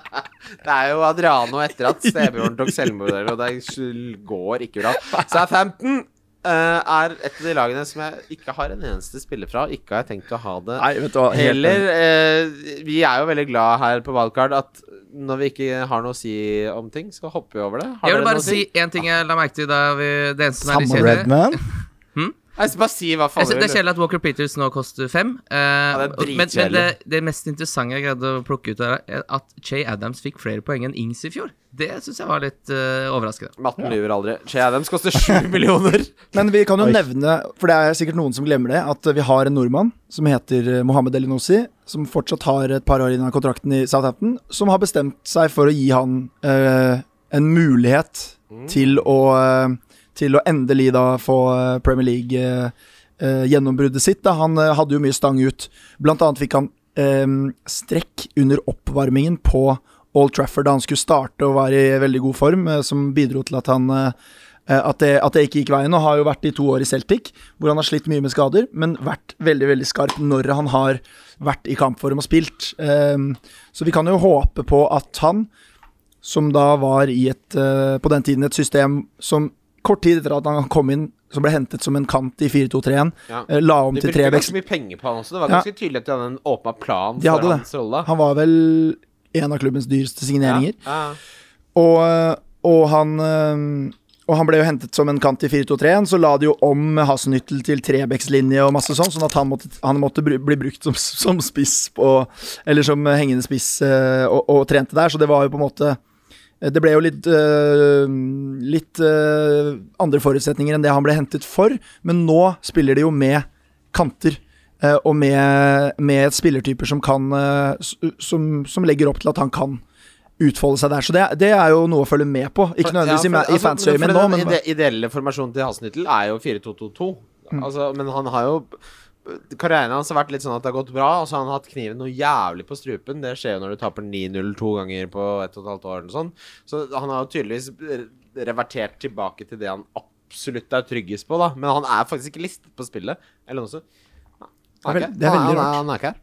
B: det er jo Adriano etter at stebroren tok selvmord, og det sl- går ikke bra. Southampton eh, er et av de lagene som jeg ikke har en eneste spiller fra. Ikke har jeg tenkt å ha det
D: Nei, vet du hva. helt
B: Heller, eh, vi er jo veldig glad her på Wildcard at når vi ikke har noe å si om ting, så hopper vi over det. Har
C: Jeg vil
B: dere
C: bare
B: noe å
C: si én ting jeg la merke til da vi Det eneste som er litt
E: Samme
C: kjedelig.
E: Redman.
B: Nei, så bare si hva faen
C: Jeg
B: du
C: synes det er
B: vil.
C: kjedelig at Walker Peters nå koster fem.
B: det
C: eh,
B: er
C: og- men men det,
B: dritkjedelig.
C: det mest interessante jeg greide å plukke ut, er at Che Adams fikk flere poeng enn Ings i fjor. Det syns jeg var litt eh, overraskende.
B: Matten lyver aldri. Che Adams koster sju millioner.
D: Men vi kan jo
E: Oi.
D: nevne, for det er sikkert noen som glemmer det, at vi har en nordmann som heter eh, Mohammed Elinossi, som fortsatt har et par år igjen av kontrakten i Southampton, som har bestemt seg for å gi han eh, en mulighet
B: Mm.
D: til å eh, til å endelig da få eh, Premier League eh, eh, gjennombruddet sitt. Da. Han eh, hadde jo mye stang ut. Blant annet fikk han eh, strekk under oppvarmingen på Old Trafford da han skulle starte og var i veldig god form, eh, som bidro til at han eh, eh, at det, at det ikke gikk veien, og har jo vært i to år i Celtic, hvor han har slitt mye med skader, men vært veldig veldig skarp når han har vært i kampform og spilt. Eh, så vi kan jo håpe på at han, som da var i et, eh, på den tiden et system som kort tid etter at han kom inn, som ble hentet som en kant i 4-2-3-1,
B: Ja.
D: eh, la om
B: De
D: til
B: brukte ganske
D: trevekst.
B: mye penger på han også. Det var
D: Ja.
B: ganske tydelig at de hadde en åpna plan
D: De hadde
B: for
D: det.
B: hans rolle.
D: Han var vel en av klubbens dyreste signeringer.
B: Ja. Ja.
D: Og, eh, og han øhm, Og han ble jo hentet som en kant i 4-2-3-en, så la de jo om Hasenhyttel til Trebecks-linje og masse sånn, sånn at han måtte, han måtte bru- bli brukt som, som spiss på Eller som hengende spiss øh, og, og trente der, så det var jo på en måte Eh, det ble jo litt, øh, litt øh, andre forutsetninger enn det han ble hentet for, men nå spiller de jo med kanter. eh, og med, med spillertyper som kan eh, s- som, som legger opp til at han kan utfolde seg der. Så det, det er jo noe å følge med på. Ikke nødvendigvis i, ma-
C: altså,
D: i fansøyet min nå, men
B: altså, Den ide ideelle formasjonen til Hasenhyttel er jo 4-2-2-2.
D: Mm.
B: Altså, men han har jo Karrieren hans har vært litt sånn at det har gått bra, og så har han hatt kniven noe jævlig på strupen. Det skjer jo når du taper 9-0 to ganger på ett og et halvt år eller sånn. Så han har jo tydeligvis re- revertert tilbake til det han absolutt er tryggest på, da. Men han er faktisk ikke listet på spillet. Eller noe sånt. Han
D: Det er
B: ikke-
D: vel- det er
B: han han
D: veldig rart.
B: Han er ikke her.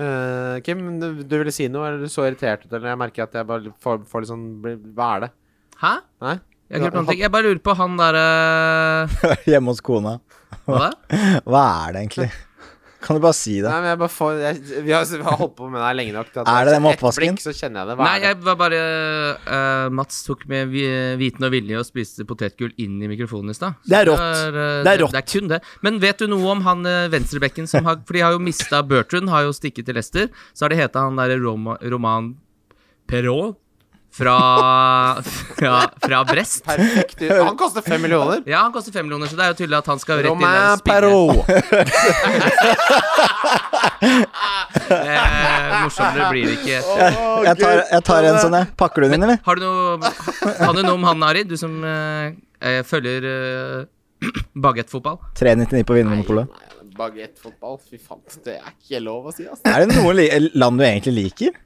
B: Eh, Kim, du, du ville si noe? Eller du så irritert ut? Eller jeg merker at jeg bare får, får litt sånn Hva er det?
C: Hæ?
B: Nei?
C: Jeg, har ikke hørt noen ting. jeg bare lurer på han derre
E: Hjemme hos kona.
C: Hva? da?
E: Hva er det egentlig? Kan du bare si det?
B: Nei, men jeg bare får jeg, vi, har, vi har holdt på med det her lenge nok. til at
E: Er det den med
B: ett
E: oppvasken?
B: blikk, så kjenner jeg det. Hva
C: Nei,
B: er det?
C: jeg var bare eh, Mats tok med vi- viten og vilje og spiste potetgull inn i mikrofonen i stad. Så
D: Det er rått.
C: eh,
D: Det er rått.
C: Det er kun det. Men vet du noe om han eh, venstrebekken som har For de har jo mista Bertrand, har jo stikket til Leicester. Så har det heta han derre Roma, Roman Perrault fra, fra, fra Brest.
B: Perfekt. Du, Han koster fem millioner.
C: Ja, han koster fem millioner, så det er jo tydelig at han skal rett inn
B: Romain
C: der og spille.
B: Perrault.
C: Eh, morsommere blir det ikke.
E: Jeg tar, jeg tar en sånn, jeg. Pakker du den inn, eller?
C: Har du noe, kan du noe om han, Ari? Du som eh, eh, følger eh, bagettfotball.
E: 399 på Vinmonopolet.
B: Bagettfotball, fy faen. Det er ikke lov å si, ass.
E: Er det noe li eh, land du egentlig liker?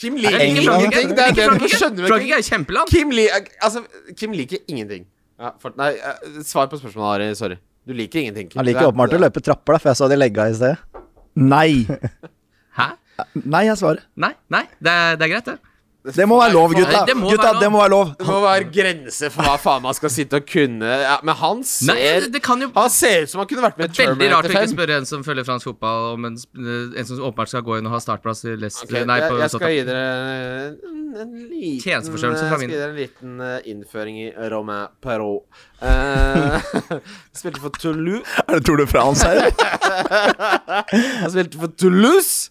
B: Kim
C: Nei,
B: liker
E: England.
B: ingenting. Det er det du
C: Frankrike.
B: skjønner jo
C: Frankrike
B: ikke.
C: er kjempeland.
B: Kim, li altså, Kim liker ingenting. Ja, for, nei, eh, svar på spørsmålet, Ari. Sorry. Du liker ingenting. Kim.
E: Han liker åpenbart å løpe trapper, da, for jeg så de legga i sted.
D: nei.
C: Hæ?
D: Nei, jeg svarer.
C: Nei, nei, det er, det er greit, det.
D: Det må være lov,
C: Nei,
D: gutta.
C: det må være
D: gutta
C: lov.
D: det må være lov.
B: Det må være grenser for hva faen man skal sitte og kunne. Ja, men han
C: Nei,
B: ser
C: det, det kan jo
B: Han ser ut som han kunne vært med i
C: Veldig rart å
B: Terminator
C: ikke
B: 5.
C: spørre en som følger fransk fotball, om en, sp- en som åpenbart skal gå inn og ha startplass i Leicester
B: Ok,
C: Nei,
B: jeg,
C: på
B: jeg skal
C: Southampton.
B: gi dere en, en liten
C: Tjenesteforstørrelse fra
B: Jeg skal
C: min-
B: gi dere en liten eh, innføring i Romain Perrault. Eh, spilte for Toulouse.
D: Er det Tour de France her? eller?
B: Han spilte for Toulouse!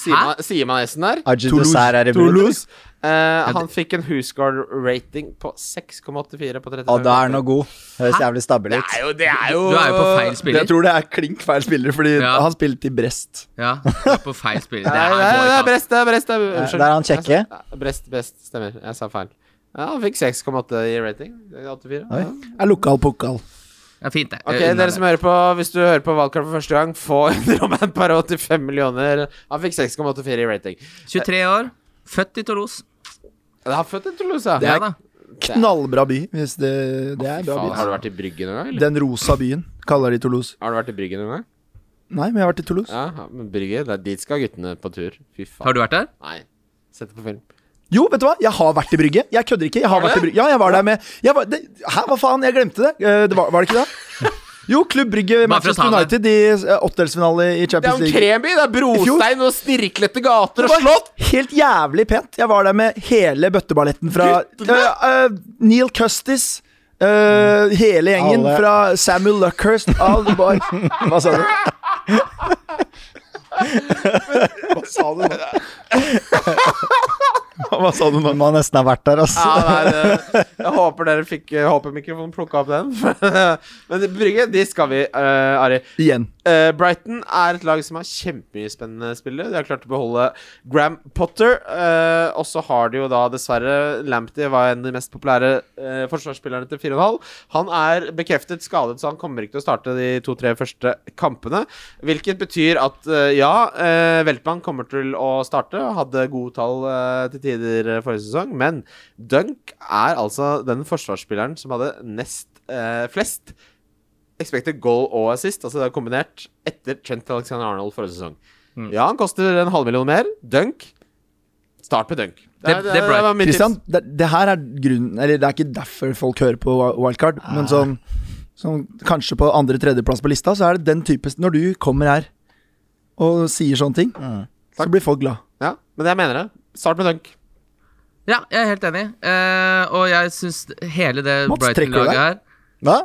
B: Sier
C: Hæ?
B: man, sier man S-en der?
E: Ajit
D: Toulouse.
E: Dessert er i bruk.
D: Toulouse.
B: Eh, han fikk en Husguard-rating på 6,84 på 35.
E: Og da er han noe god. Høres jævlig stabil
B: Det
E: ut.
B: er jo, det er jo
C: Du er jo på feil
D: Jeg
C: spiller.
D: tror det er klink feil spiller, fordi
C: Ja.
D: han spilte i Brest.
C: Ja, du er på feil spiller.
B: Nei,
C: Det
B: det
C: er,
B: er, det er
C: boikott.
B: Brest, det er Brest. det er- Unnskyld.
E: der Eh, er han
B: Jeg sa-
E: kjekke.
B: ja, Brest, Brest, stemmer. Jeg sa feil. Ja, han fikk 6,8 i rating. 84.
E: Oi.
B: Ja.
D: Er lokal pokal.
C: Det er fint, det.
B: Ok,
C: Unna
B: dere
C: det.
B: som hører på, Hvis du hører på Valgkamp for første gang, få en Roman per 85 millioner. Han fikk 6,84 i rating.
C: 23 år, født i Toulouse.
B: Han har født en Toulouse.
C: Ja da.
D: Knallbra by, hvis det, det er bra by.
B: Faen, har du vært i Brygge noen gang? Eller?
D: Den rosa byen kaller de Toulouse.
B: Har du vært i Brygge noen gang?
D: Nei, men jeg har vært i Toulouse.
B: Ja, ja, men Brygge, det er dit skal guttene på tur. Fy faen.
C: Har du vært der?
B: Nei. Sett det på film.
D: Jo, vet du hva? Jeg har vært i Brygge. Jeg kødder ikke. Jeg har vært i Brygge. Ja, jeg var der med jeg var, det, Hæ, hva faen? Jeg glemte det. Eh, det var, var det ikke det? Jo, Klubb Brygge,
C: Bare for å
D: Manchester
C: ta
D: United i eh, åttedelsfinale i
B: Det er
D: Champions
B: jo en
D: League.
B: kremby! Det er
D: I
B: brostein og snirklete gater og
D: Det var
B: slott!
D: Helt jævlig pent. Jeg var der med hele bøtteballetten fra eh, eh, Neil Custis, Eh, hele gjengen
E: Alle.
D: fra Samuel Luckhurst av The Boy. Hva sa du?
E: Hva sa du nå?
D: Hva sa du nå?
E: Man nesten har vært der, altså.
B: Ja, nei, det, jeg håper dere fikk jeg håper mikrofonen plukka opp den. Men Brygge, de skal vi, eh, Ari.
D: Igjen.
B: Eh, Brighton er et lag som har kjempemye spennende spillere. De har klart å beholde Gram Potter. eh, og så har de jo da dessverre Lamptey var en av de mest populære eh, forsvarsspillerne til 4,5. Han er bekreftet skadet, så han kommer ikke til å starte de to-tre første kampene. Hvilket betyr at eh, ja, uh, Veltmann kommer til å starte. Hadde gode tall eh, til tider eh, forrige sesong, men Dunk er altså den forsvarsspilleren som hadde nest eh, flest expected goal og assist, altså det er kombinert, etter Trent Alexander Arnold forrige sesong.
C: Mm.
B: Ja, han koster en halv million mer. Dunk. Start med dunk.
C: Det- det er bra.
B: var mitt tips.
D: Kristian, det, det her er grunnen Eller det er ikke derfor folk hører på wi- wildcard, men sånn, sånn kanskje på andre-tredjeplass på lista, så er det den type Når du kommer her og sier sånne ting, så blir folk glad.
B: Ja, men jeg mener det. Start med dunk.
C: Ja, jeg er helt enig. Eh, og jeg syns hele det
D: Mats, trekker du
C: Brighton-laget
D: deg?
C: her
E: Hva?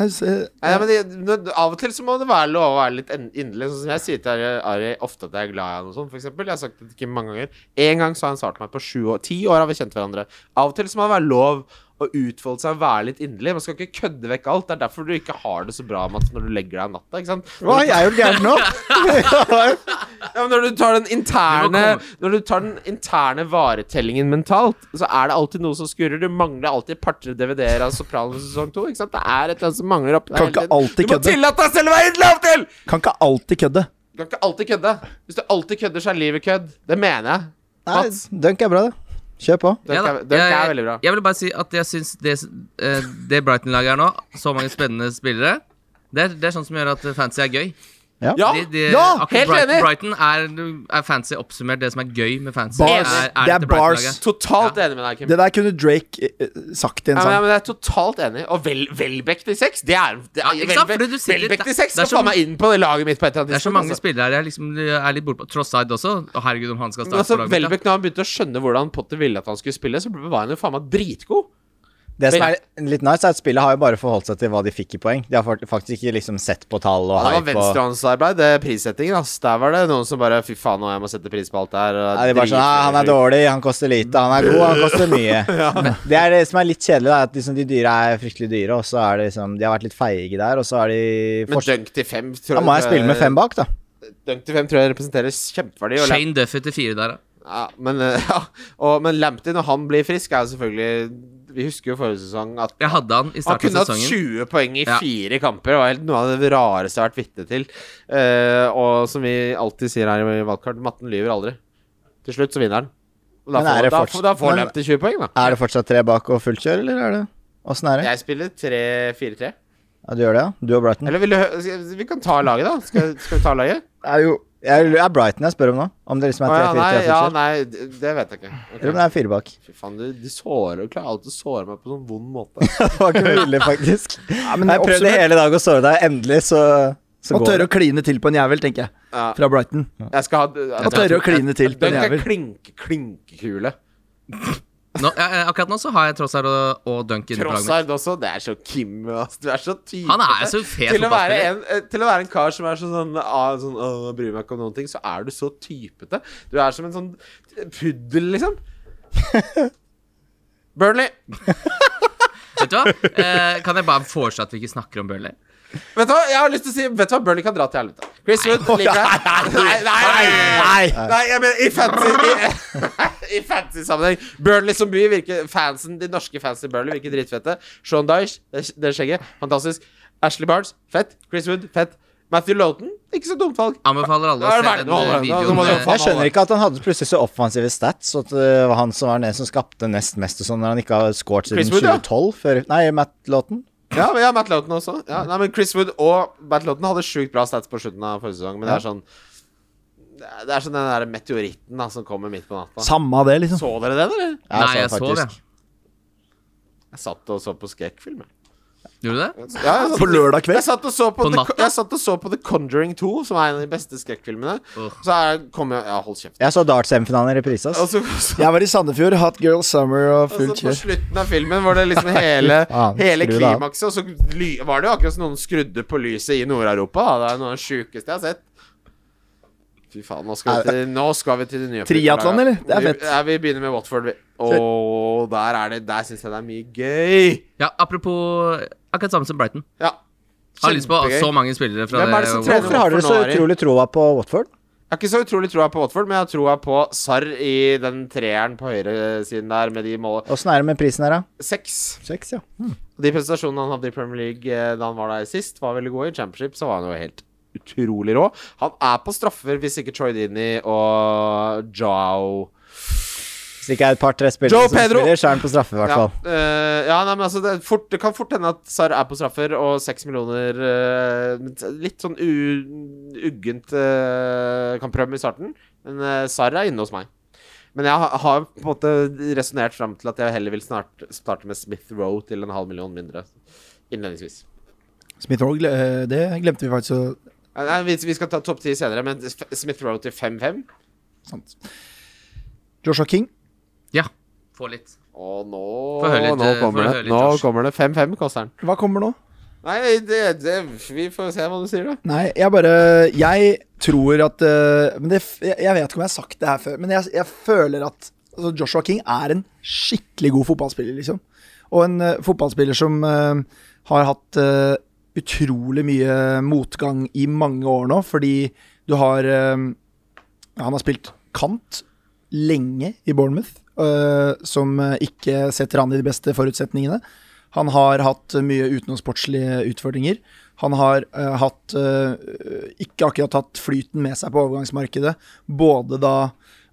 D: Nei, så- eh,
B: Nei, men det, det- Av og til så må det være lov å være litt en- inderlig. Sånn som jeg sier til Ari- Ari ofte at jeg er glad i han og sånn, for eksempel. Jeg har sagt det til Kim mange ganger. En gang så har han svart meg på sju år. Ti år har vi kjent hverandre. Av og til så må det være lov å utfolde seg og være litt inderlig. Man skal ikke kødde vekk alt. Det er derfor du ikke har det så bra, Mats, når du legger deg om natta. ikke sant? Når du
E: Hva, jeg er jo gæren nå!
B: Ja, men når du tar den interne
C: Du må
B: Når du tar den interne varetellingen mentalt, så er det alltid noe som skurrer. Du mangler alltid et par-tre DVD-er av Sopranos sesong to. Ikke sant? Det er et eller annet som mangler oppi der
D: Kan
B: hele
D: ikke
B: tiden.
D: alltid
B: Du må
D: kødde.
B: tillate deg selv å være innlagt til!
D: Kan ikke alltid kødde.
B: Du kan ikke alltid kødde. Hvis du alltid kødder, så er livet kødd. Det mener jeg.
E: Nei,
B: Mats,
E: Dunk er bra, det. Kjør på.
B: Dunk
C: Ja da,
B: er, dunk
C: jeg-
B: er veldig bra.
C: Jeg vil bare si at jeg syns det, eh, det Brighton-laget er nå, så mange spennende spillere det er, det er sånn som gjør at fancy er gøy.
B: Ja,
C: De, de,
B: ja
C: akkurat
B: helt
C: Brighton,
B: enig!
C: Brighton er, er fancy oppsummert. Det som er gøy med fancy,
D: Bars.
C: er,
D: Det er
C: dette
D: bars.
C: Brighton-laget.
B: Totalt enig med deg, Kim.
D: Det der kunne Drake eh, eh, sagt i en
B: Ja, men, ja,
D: sang.
B: men jeg er totalt enig. Og Vel Welbeck til seks, det er, det er
C: Ja, ikke sant?
B: Welbeck-
C: Fordi du sitter-
B: Welbeck til
C: det er
B: seks skal
C: så-
B: faen meg inn på det laget mitt på et eller annet
C: Det er så
B: tidspunkt,
C: mange
B: altså.
C: spillere jeg liksom er litt bortpå. Trossard også. Å, herregud, om han skal
B: Men
C: starte
B: altså,
C: på laget mitt, da.
B: Welbeck, når han begynte å skjønne hvordan Potter ville at han skulle spille, så var han jo faen meg dritgod.
E: Det som er litt nice, er at spillet har jo bare forholdt seg til hva de fikk i poeng. De har fakt- faktisk ikke liksom sett på tall og
B: Det var
E: hype og
B: venstrehåndsarbeid, det er prissettingen. Ass. Der var det noen som bare Fy faen, nå jeg må sette pris på alt det her. og
E: Nei, det er bare sånn,
B: drit-
E: «Nei, Han er dårlig, han koster lite, han er god, han koster mye. Det er det som er litt kjedelig, da, er at liksom, de dyre er fryktelig dyre, og så er det liksom De har vært litt feige der, og så er de
B: Men
E: forst-
B: dunk til fem tror
E: Da må jeg spille med fem bak, da.
B: Dunk til fem tror jeg representerer kjempeverdi. Og Lam-
C: Shane Duffy til fire der, da.
B: ja, men, eh, ja, og, men Lamptey, når han blir frisk, er jo selvfølgelig Vi husker jo forrige sesong at
C: Jeg hadde han i
B: Han
C: starten
B: kunne
C: av
B: hatt
C: sesongen.
B: 20 poeng i
C: Ja.
B: fire kamper. Det var helt noe av det rareste jeg har vært vitne til. Eh, og som vi alltid sier her i valgkart, matten lyver aldri. Til slutt så vinner han. Og da
E: Men er
B: får,
E: det
B: da,
E: fortsatt-
B: da får
E: men-
B: han til 20 poeng, da.
E: Er det fortsatt tre bak og fullt kjør, eller er det Åssen er det?
B: Jeg spiller 3-4-3.
E: Ja, du gjør det, ja? Du og Brighton?
B: Eller vil du hø- skal- Vi kan ta laget, da. Skal, skal vi ta laget?
E: Det er jo jeg, er Brighton jeg spør om nå? Om det liksom
B: Å,
E: er tre,
B: ja,
E: fire,
B: nei,
E: tre
B: ja,
E: fullt kjør?
B: nei, d- det vet jeg ikke. Ok.
E: Eller om det er fire bak?
B: Fy faen, du, du sårer Du klarer alltid å såre meg på sånn vond måte.
E: Det var ikke mulig, faktisk.
D: Ja, men
E: jeg prøvde
D: oppsummert,
E: hele dag å såre deg. Endelig, så, så
D: Å
E: går
D: tørre
E: det.
D: å kline til på en jævel, tenker jeg.
B: Ja.
D: Fra Brighton.
B: Jeg skal ha
D: Å tørre å kline til på
B: Den
D: en
B: er
D: jævel.
B: klink, klinkekule.
C: Nå, ja, ja, akkurat nå så har jeg Trossard og, og Dunk inne på laget mitt.
B: Trossard også. Det er så Kim. ass. Du er så type.
C: Han er så fet
B: til å, være
C: fotballspiller.
B: en, eh, til å være en kar som er sånn, sånn, ah, sånn «Åh, jeg bryr meg ikke om noen ting, så er du så typete. Du er som en sånn puddel, liksom. Burnley.
C: Vet du hva? Eh, kan jeg bare foreslå at vi ikke snakker om Burnley?
B: Vet du hva, jeg har lyst til å si Vet du hva, Burnley kan dra til helvete. Chris Wood ligger der. Nei, nei, nei!
E: Nei!
B: Nei, jeg mener i fancy I, i fancy sammenheng. Burnley som by virker fansen, De norske fansen til Burnley virker dritfette. Sean Dyche, det, det skjegget, fantastisk. Ashley Barnes, fett. Chris Wood, fett. Matthew Loughton, ikke så dumt valg.
C: Anbefaler alle
B: Hva
C: å
B: er det
C: se
B: verden
C: den
B: holder
C: eh,
B: den? Nå må du
C: videoen.
B: faen-
C: med-
E: Jeg skjønner ikke at han hadde plutselig så offensive stats, og at eh, det var han som var den som skapte nest mest og sånn, når han ikke har scoret siden
B: Chris Wood, ja.
E: 2012. Før, nei, Matt Lawton.
B: Ja, men ja Matt Loughton også. Ja, nei, men Chris Wood og Matt Loughton hadde sjukt bra stats på slutten av forrige sesong, men det er sånn Det er sånn den der meteoritten da, som kommer midt på natta.
D: Samme av det, liksom.
B: Så dere den, eller?
E: Ja,
C: Nei, jeg sov,
E: faktisk.
C: jeg.
B: Jeg satt og så på skrekkfilm. jeg.
C: Gjorde du det?
B: Ja, jeg satt-
D: På lørdag kveld?
B: Jeg satt, og så på
C: På
B: The,
C: natta?
B: jeg satt og så på The Conjuring 2, som er en av de beste skrekkfilmene.
C: Åh.
B: Så er, kom jeg Ja, hold kjeft.
E: Jeg så darts-semifinalen i reprise.
B: Og
E: ass.
B: så, så,
D: Jeg var i Sandefjord, hot girl summer
B: og
D: og
B: så
D: fullt
B: på
D: kjør.
B: slutten av filmen var det liksom hele,
E: faen,
B: hele
E: skru det av.
B: klimakset, og så ly, var det jo akkurat som noen skrudde på lyset i Nord-Europa. da. Det er noe av det sjukeste jeg har sett. Fy faen, nå skal vi til, nå skal vi til det nye
D: Triathlon,
B: programmet.
D: eller? Det er fett.
B: Vi, ja, vi begynner med Watford. vi. Åh, der er det Der syns jeg det er mye gøy.
C: Ja, apropos akkurat samme som Brighton.
B: Ja.
C: Har lyst på
B: Kjempegøy.
C: så mange spillere fra
B: Hvem er det som trener?
E: Hvorfor har dere så utrolig troa på Watford?
B: Jeg har ikke så utrolig troa på Watford, men jeg har troa på Sarr i den treeren på høyresiden der med de målene.
E: Åssen er det med prisen her, da?
B: Seks.
E: Seks, ja.
B: De prestasjonene han hadde i Premier League eh, da han var der sist, var veldig gode. I Championship så var han jo helt utrolig rå. Han er på straffer hvis ikke Troy Dini og Joao
E: Hvis det ikke er et par-tre spillere
B: Joe
E: som
B: Pedro!
E: spiller, så er han på straffe, i hvert
B: ja,
E: fall.
B: eh, ja, nei, men altså det, er fort, det kan fort hende at Sarr er på straffer, og seks millioner eh, Litt sånn u, uggent eh, kan prøve i starten, men eh, Sarr er inne hos meg. Men jeg har, har på en måte resonnert fram til at jeg heller vil snart starte med Smith Roe til en halv million mindre. Innledningsvis.
D: Smith Roll, eh, det glemte vi faktisk å
B: Eh, Nei, vi, vi skal ta topp ti senere, men F- Smith Roe til 5-5
D: sant. Joshua King.
C: Ja, få litt.
B: Og nå,
C: Få høre litt,
B: nå
C: eh,
B: kommer
C: få
B: det.
C: høre litt,
B: Nå
C: Lars.
B: kommer det 5-5 koster den.
D: Hva kommer nå?
B: Nei, det, det, vi får se hva du sier, da.
D: Nei, jeg bare Jeg tror at eh, men det, f- Jeg jeg vet ikke om jeg har sagt det her før, men jeg, jeg føler at altså Joshua King er en skikkelig god fotballspiller, liksom. Og en eh, fotballspiller som eh, har hatt eh, utrolig mye motgang i mange år nå, fordi du har eh, Han har spilt kant lenge i Bournemouth, eh, som eh, ikke setter han i de beste forutsetningene. Han har hatt mye utenomsportslige utfordringer. Han har eh, hatt eh, ikke akkurat hatt flyten med seg på overgangsmarkedet, både da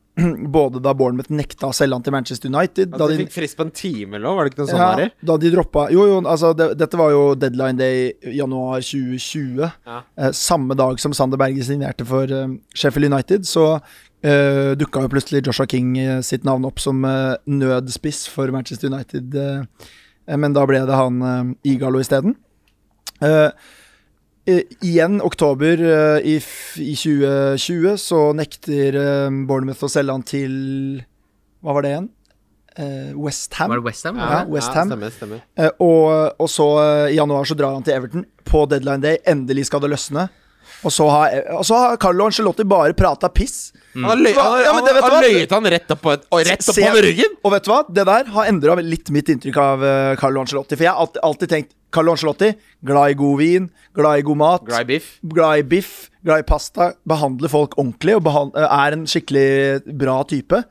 D: både da Bournemouth nekta å selge han til Manchester United
B: At
D: da
B: de
D: de-
B: fikk frist på en time nå, var det ikke noe sånt ja. der?
D: da de droppa Jo, jo, altså, det, dette var jo deadline day i januar 2020.
B: Ja.
D: Eh, samme dag som Sander Berge signerte for eh, Sheffield United, så eh, dukka jo plutselig Joshua King eh, sitt navn opp som eh, nødspiss for Manchester United. eh, eh, men da ble det han eh, Igalo isteden. Eh, eh, igjen, oktober eh, i, f i 2020, så nekter eh, Bournemouth å selge han til Hva var det igjen? Eh, West Ham.
C: Var det Westham?
D: Ja. West Ham.
B: stemmer, stemmer.
D: Eh, og, og så eh, i januar så drar han til Everton på deadline day. Endelig skal det løsne. Og så har, eh, og så har Carlo Ancelotti bare prata piss.
B: Han har løy-
D: Hva?
B: han har-
D: Ja, men det
B: han
D: vet du
B: har
D: hva?
B: løyet han rett opp på, et- og rett opp
D: Se-
B: på ryggen!
D: Og vet du hva? Det der har endra litt mitt inntrykk av eh, Carlo Ancelotti. For jeg har alltid, alltid tenkt Carlo Ancelotti, glad i god vin, glad i god mat.
B: Gry Biff.
D: glad i biff, glad i pasta, behandler folk ordentlig og behand eh, er en skikkelig bra type.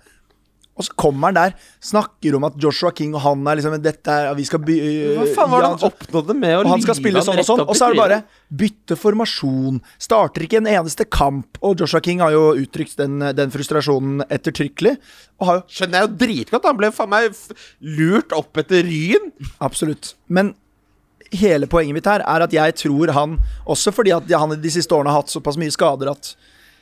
D: Og så kommer han der, snakker om at Joshua King og han er liksom Dette er, vi skal by
B: Hva faen var det han
D: Ja,
B: oppnådde med å
D: og han skal
B: lyve
D: spille sånn og
B: rett
D: sånn,
B: opp i
D: og så er det bare
B: trynet?
D: bytte formasjon. Starter ikke en eneste kamp. Og Joshua King har jo uttrykt den, den frustrasjonen ettertrykkelig. Og har jo
B: Skjønner jeg jo dritgodt. Han ble faen meg f lurt opp etter ryen.
D: Absolutt. Men hele poenget mitt her er at jeg tror han, også fordi at han de siste årene har hatt såpass mye skader at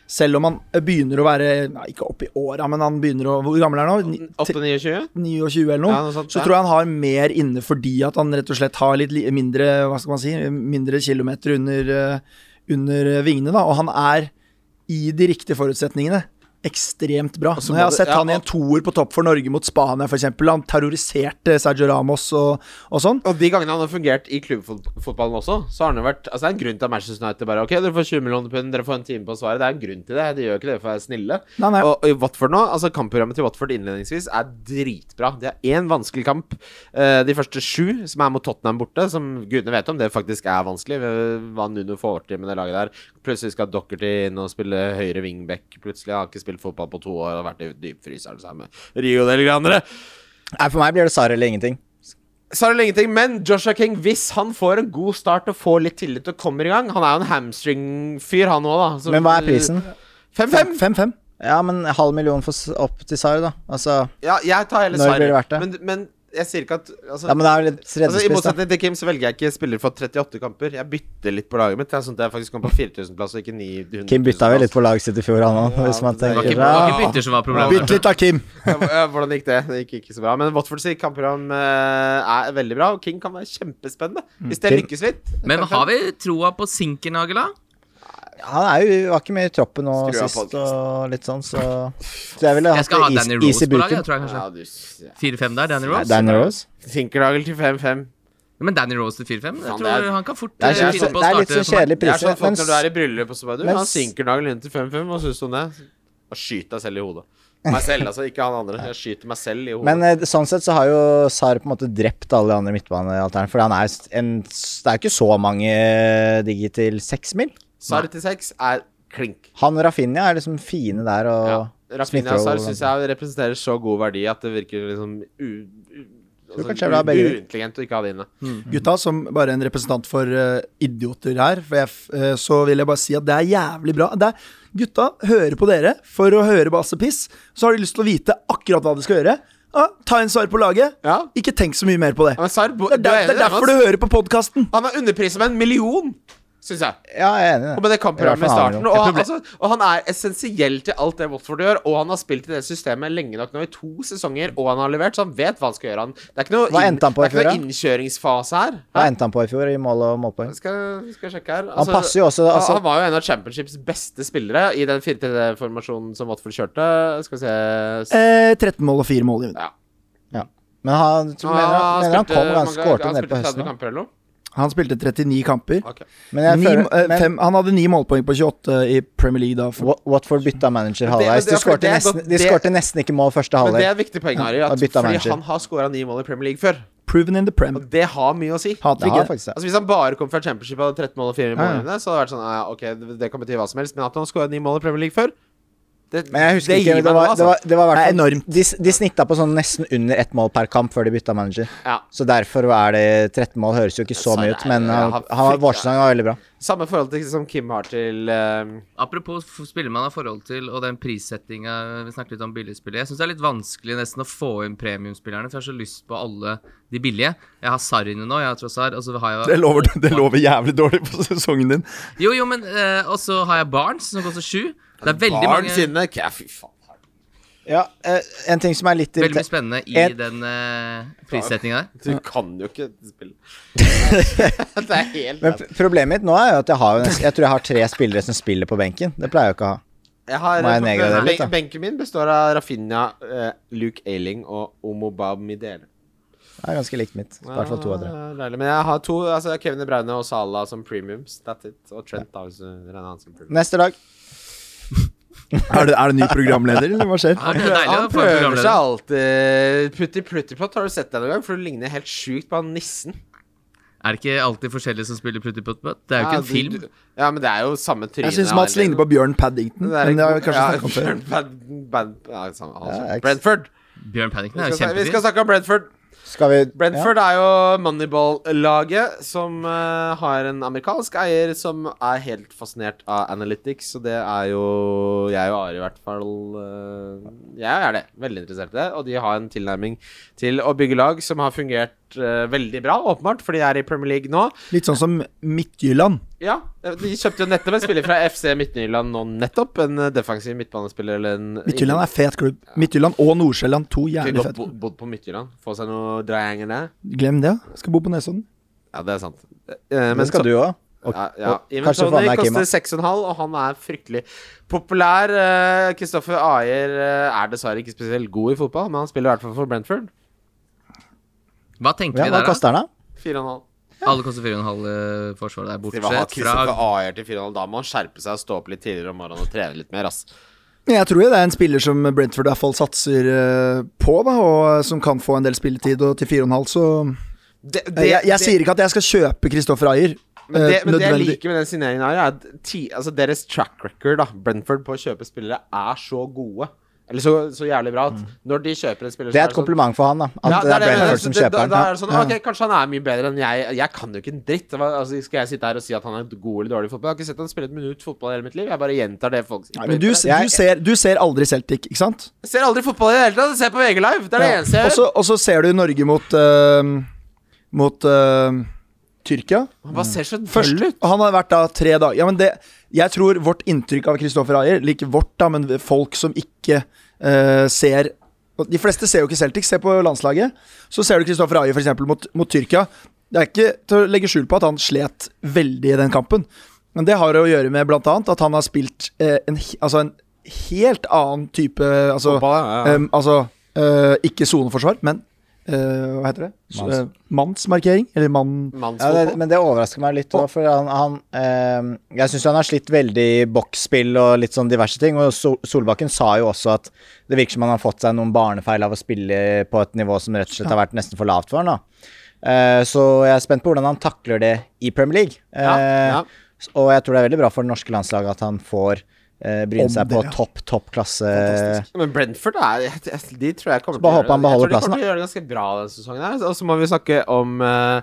D: selv om han begynner å være nei, Ikke opp i åra, men han begynner å Hvor gammel er han nå? Ni-
B: 28-29?
D: 29 eller noe,
B: Ja, noe sånt,
D: så
B: ja.
D: tror jeg han har mer inne fordi at han rett og slett har litt li- mindre hva skal man si, mindre kilometer under, eh, under vingene. da, Og han er i de riktige forutsetningene ekstremt bra. Nå
B: må
D: har jeg
B: det-
D: sett
B: ja,
D: han i en
B: og-
D: toer på topp for Norge mot Spania f.eks. Han terroriserte Sergio Ramos og, og sånn.
B: Og de gangene han har fungert i klubbfotballen også, så har han jo vært Altså, det er en grunn til at Manchester United bare OK, dere får 20 millioner pund, dere får en time på å svare. Det er en grunn til det. De gjør ikke det for å være snille.
D: Nei, nei.
B: Og, og i Watford nå, altså kampprogrammet til Watford innledningsvis er dritbra. De har én vanskelig kamp. eh, de første sju, som er mot Tottenham borte, som gudene vet om, det faktisk er vanskelig. eh, Hva Nuno får til med det laget der. Plutselig skal Dockerty inn og spille høyre wingback. Plutselig har han ikke spilt fotball på to år og vært i dypfryseren sammen med Rio del Grandere.
E: Nei, for meg blir det Sarr eller ingenting.
B: Så er det ingenting, men Joshua King, hvis han får en god start og får litt tillit og kommer i gang Han er jo en hamstring-fyr, han òg, da. så-
E: Men hva er prisen?
B: 5-5.
D: 5-5.
E: Ja, men halv million for s- opp til Sarr, da. Altså
B: Ja, jeg tar hele
E: Når blir det
B: Sarri.
E: verdt det?
B: Men, men Jeg sier ikke at altså,
E: Ja, men det er jo litt
B: altså, I
E: tredjespiss, da.
B: motsetning til Kim så velger jeg ikke spiller for 38 kamper. Jeg bytter litt på laget mitt. Det er sånn at jeg faktisk kommer på 4000-plass og ikke 900
E: Kim bytta vel litt på laget sitt i fjor, han òg,
B: Ja,
E: hvis man
B: det var
C: Det var
E: tenker
C: ikke,
E: ja.
C: det var ikke bytter som var problemet.
D: Bytt litt av Kim.
B: Hvordan gikk det? Det gikk ikke så bra. Men Watfords kampprogram eh, er veldig bra, og King kan være kjempespennende.
E: Mm.
B: Hvis det
D: Kim-
B: lykkes litt.
C: Men har vi troa på Sinkernagel, da?
E: Han er jo, var ikke med i troppen nå
B: Skru av
E: sist
B: podcasten.
E: og litt sånn, så Så jeg ville
C: Jeg
E: hatt
C: skal ha
E: is,
C: Danny
E: is i
C: Rose på laget.
E: burken.
C: jeg tror jeg
B: Ja,
C: kanskje
B: du ja.
C: 4-5 der, Danny Rose.
E: Danny Rose?
B: Sinkernagel til 5-5.
C: Men Danny Rose til 4-5? Jeg
B: Faen,
C: tror
B: det er-
C: han kan fort
E: Det er,
C: eh,
E: sånn-
C: finne på
E: det
C: å
E: er litt
C: starte.
E: sånn kjedelig
B: Det er
E: priser.
B: sånn folk
E: Men
B: når du er i bryllup og så bare Du,
E: mens-
B: han sinker nagelen inn til 5-5. Hva syns du om det? Og skyter deg selv i hodet. Meg selv, altså. Ikke han andre. Jeg skyter meg selv i hodet.
E: Men eh, sånn sett så har jo Sar på en måte drept alle de andre midtbanealternene. For han er s- en, s- det er jo ikke så mange digge til seks mil.
B: Sar til 6 er klink.
E: Han og Rafinha er liksom fine der og
B: Ja. Rafinha
E: Smith-Rowe
B: Sar
E: og-
B: syns jeg representerer så god verdi at det virker liksom u... u altså,
E: Tror kanskje jeg vil ha begge.
B: uintelligent å ikke ha det inne.
D: Gutta, som bare en representant for eh, idioter her, for jeg, f- eh, så vil jeg bare si at det er jævlig bra. Det er, gutta hører på dere for å høre basepiss, så har de lyst til å vite akkurat hva de skal gjøre. Ja, ta en svar på laget.
B: Ja.
D: Ikke tenk så mye mer på det.
B: Ja, Men Sar, bo-
D: Det er,
B: du
D: der,
B: er enig? i
D: det er
B: det,
D: derfor du
B: Mats?
D: hører på podkasten.
B: Han er underprisa med en million, syns jeg.
E: Ja, jeg er enig i
B: Og
E: det.
B: med det kampprogrammet i
E: I hvert fall
B: starten.
E: har
B: Og
E: han
B: han, altså, og han er essensiell til alt det Watford gjør. Og han har spilt i det systemet lenge nok nå i to sesonger, og han har levert, så han vet hva han skal gjøre. Han. Det er ikke noe,
E: Hva endte han på i
B: det er
E: fjor,
B: ikke
E: da?
B: noe innkjøringsfase her.
E: Hva
B: Hæ?
E: endte han på i fjor i mål og målpoeng?
B: Skal, skal jeg sjekke her.
E: Han passer jo også altså,
B: han var jo en av championships beste spillere i den 4-3-formasjonen som Watford kjørte. Skal vi se s-
D: Eh, 13 mål og 4 mål.
B: Ja.
E: Men han, tror, mener, han, mener han
B: Ah, spilte
E: kom
B: mange-
E: ganske skårte
B: han
E: nede på
B: spilte 30
E: høsten.
B: kamper eller noe.
D: Han spilte 39 kamper.
B: Ok.
E: Men jeg
D: Ni,
E: føler,
D: eh,
E: men
D: fem, han hadde 9 målpoeng på 28 i Premier League da. For,
E: Wa- Watford bytta manager
B: Men
E: halvveis.
B: det- men
E: De
B: det er fordi
E: skårte
B: det er
E: nesten,
B: godt-
E: de
B: det-
E: skårte nesten ikke mål første
B: Men det er
E: halvdel.
B: et viktig poeng, Ari.
E: Ja,
B: At,
E: bytta
B: fordi
E: manager.
B: han har skåra ni mål i Premier League før.
D: proven in the prem.
B: Og det har mye å si.
E: Det
D: Hat-trick.
E: har
D: eh.
E: faktisk det.
B: Altså Hvis han bare kom fra championship og hadde 13 mål og 4 mål,
D: Ja, ja.
B: inne, så hadde det vært sånn ja, ja, Ok, det- det kan bety hva som helst, men at han skåra 9 mål i Premier League før det,
E: Men jeg husker
B: det
E: ikke,
B: gir
E: det
B: meg
E: var,
B: noe, altså.
E: det var, altså. det var
D: Det er
E: hvertfall-
D: enormt.
E: De, s- de snitta på sånn nesten under ett mål per kamp før de bytta manager.
B: Ja.
E: Så derfor er det 13 mål høres jo ikke så
B: Så
E: mye
B: det
E: ut,
B: er-
E: men
B: jeg
E: han,
B: har
E: han,
B: frykt-
E: Vårsang var veldig bra.
B: Samme forhold til som Kim har til eh,
C: Apropos f- spiller man har forhold til, og den prissettinga Vi snakket litt om billigspillet. Jeg syns det er litt vanskelig nesten å få inn premiumspillerne, for jeg har så lyst på alle de billige. Jeg har Sarr inne nå, jeg har Trossar, og så har jeg
D: Det lover, det lover jævlig dårlig på sesongen din.
C: Jo, jo, men eh, Og så har jeg Barnes, som koster sju. Det er veldig
B: Barn
C: mange
B: sine Ja, fy faen.
E: Ja, eh, en ting som er litt
C: Veldig mye
E: irriterende
C: spennende i
E: En-
C: den uh, prissettinga der.
B: Du kan jo ikke spille Det er helt
E: Men p- problemet mitt nå er jo at jeg har jo nesten, Jeg tror jeg har tre spillere som spiller på benken. Det pleier jeg jo ikke å ha.
B: Jeg har
E: Må jeg nedgradere
B: ben-
E: litt, da?
B: Benken min består av Rafinha, eh, Luke Ailing og Omobab Midele.
E: Det er ganske likt mitt. I hvert fall to av tre.
B: Deilig. Men jeg har to altså Kevin De Bruyne og Salah som premiums. That's it. Og Trent, da, hvis du regner han som premium.
E: Neste lag.
D: Er det, er det ny programleder, eller hva skjer?
C: Det er deilig
B: Han
C: å få en
B: prøver seg
C: programleder.
B: alltid. Putti Plutti Plott, har du sett det noen gang? For du ligner helt sjukt på han nissen.
C: Er det ikke alltid forskjellige som spiller Pruttipott? Det er jo ikke en film.
B: Du, du, ja, men det er jo samme tryne.
D: Jeg syns Mats ligner på Bjørn Paddington. Men det har vi kanskje snakket om før.
B: ja, samme, han,
E: Ja, jeg-
B: Brentford.
C: Bjørn Paddington
B: Vi
C: er jo
B: skal, vi skal
C: kjempefin.
B: snakke om Brentford.
E: Skal vi
B: Brentford er jo Moneyball-laget som eh, har en amerikansk eier som er helt fascinert av analytics, og det er jo jeg og Ari i hvert fall eh, Jeg er det. Veldig interessert i det. Og de har en tilnærming til å bygge lag som har fungert eh, veldig bra, åpenbart, for de er i Premier League nå.
D: Litt sånn som Midtjylland.
B: Ja, de kjøpte jo nettopp en spiller fra FC Midtjylland nå nettopp. En eh, defensiv midtbanespiller eller en
D: Midtjylland er fet klubb. Midtjylland og Nordsjælland, to
B: Kunne
D: jævlig
B: godt
D: fete.
B: bo- bodd på Midtjylland. Få seg noe dreienger der.
D: Glem det. jeg Skal bo på Nesodden.
B: Ja, det er sant. Eh,
E: Men
B: så-
E: skal du òg.
B: ja, ja.
E: og
B: Ivan
E: kanskje
B: Toney
E: få med Kim, da.
B: koster 6,5, og han er fryktelig populær. Kristoffer Ayer eh, er dessverre ikke spesielt god i fotball, men han spiller i hvert fall for Brentford.
C: Hva tenker
E: Ja,
C: vi
E: hva
C: der, da?
E: koster den, da?
B: 4,5.
C: Alle koster 4,5 eh,
B: Til å
C: forsvar der,
B: ha
C: bortsett fra
B: Kristoffer Ayer til 4,5, da må han skjerpe seg og stå opp litt tidligere om morgenen og trene litt mer, ass.
D: Men jeg tror jo det er en spiller som Brentford i hvert fall satser eh, på, da, og eh, som kan få en del spilletid, og til 4,5, så
B: Det,
D: Eh, Jeg, jeg sier ikke at jeg skal kjøpe Kristoffer Ayer.
B: Men det,
D: eh,
B: men det jeg
D: nødvendig.
B: liker med den signeringen her, er at ti, altså deres track record, da, Brentford, på å kjøpe spillere, er så gode. Eller så, så jævlig bra at når de kjøper en spiller
E: Mm. Det
B: som
E: er et
B: sånn-
E: kompliment for han, da. At
B: Ja,
E: det er
B: jeg mener.
E: Brentford som
B: Så det-
E: kjøper
B: da,
E: han.
B: da er det sånn,
E: Ja.
B: ok, Kanskje han er mye bedre enn jeg. Jeg kan jo ikke en dritt. Hva- Altså, skal jeg sitte her og si at han er god eller dårlig i fotball? Jeg har ikke sett han spille et minutt fotball i hele mitt liv. Jeg bare gjentar det folk sier.
D: Nei, men du,
B: jeg,
D: du, ser, du ser aldri Celtic, ikke sant?
B: ser aldri fotball i det hele tatt. Jeg ser på VG Live. Det er det
D: Ja.
B: eneste jeg
D: Og
B: gjør.
D: så- Og så ser du Norge mot eh, Mot eh, Tyrkia.
B: Han bare ser så
D: Først,
B: døll ut.
D: og han har vært da tre dager ja, men det, Jeg tror vårt inntrykk av Kristoffer Ayer eller Ikke vårt da, men folk som ikke eh, ser og De fleste ser jo ikke Celtic, se på landslaget Så ser du Kristoffer Ayer for eksempel mot, mot Tyrkia Det er ikke til å legge skjul på at han slet veldig i den kampen Men det har å gjøre med blant annet At han har spilt eh, en, he- altså en helt annen type Altså, em, altså eh, ikke soneforsvar, men eh, hva heter det? Så,
E: Manns.
D: eh, Mannsmarkering, eller mann...
E: Ja,
B: Mannsfotball.
E: det, men det overrasker meg litt, da, for han, han ehm, Jeg syns han har slitt veldig i boksspill og litt sånn diverse ting. Og Sol Solbakken sa jo også at det virker som han har fått seg noen barnefeil av å spille på et nivå som rett og slett har vært nesten for lavt for han da. Eh, så jeg er spent på hvordan han takler det i Premier League. Eh,
B: Ja, ja.
E: Og jeg tror det er veldig bra for det norske landslaget at han får eh, bryne
D: Om
E: seg
D: det,
E: på
D: ja.
E: topp, topp klasse.
D: Fantastisk.
B: Men Brentford er, jeg- de tror jeg kommer
E: bare håpe
B: til å
E: han
B: gjøre
E: beholder
B: det. Jeg tror de
E: plassen,
B: kommer til å gjøre det ganske bra denne sesongen. her Og så må vi snakke om eh,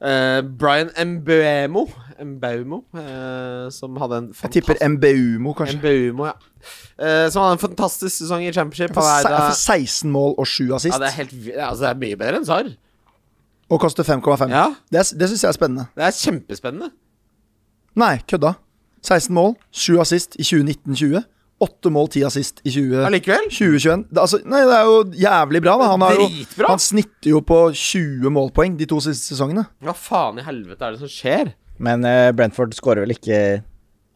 B: eh, Brian Mbuemo, Mbaumo, eh, som hadde en
D: Jeg tipper
B: fantastisk-
D: MBUMO, kanskje.
B: Mbeumo, ja. Eh, som hadde en fantastisk sesong i Championship.
D: For,
B: Han er
D: se,
B: da,
D: for 16 mål og 7
B: ja,
D: assist,
B: det, er helt, vi- altså, det er mye bedre enn Sar.
D: og koster 5,5.
B: Ja.
D: Det, er- det syns jeg er spennende.
B: Det er kjempespennende.
D: Nei, kødda. 16 mål, 7 assist i 2019-20. 8 mål, 10 assist i 20
B: Allikevel.
D: 2021. Det, er altså, nei, det er jo jævlig bra, da. Han, har jo,
B: Dritbra.
D: han snitter jo på 20 målpoeng de to siste sesongene.
B: Hva faen i helvete er det som skjer?
E: Men eh, Brentford skårer vel ikke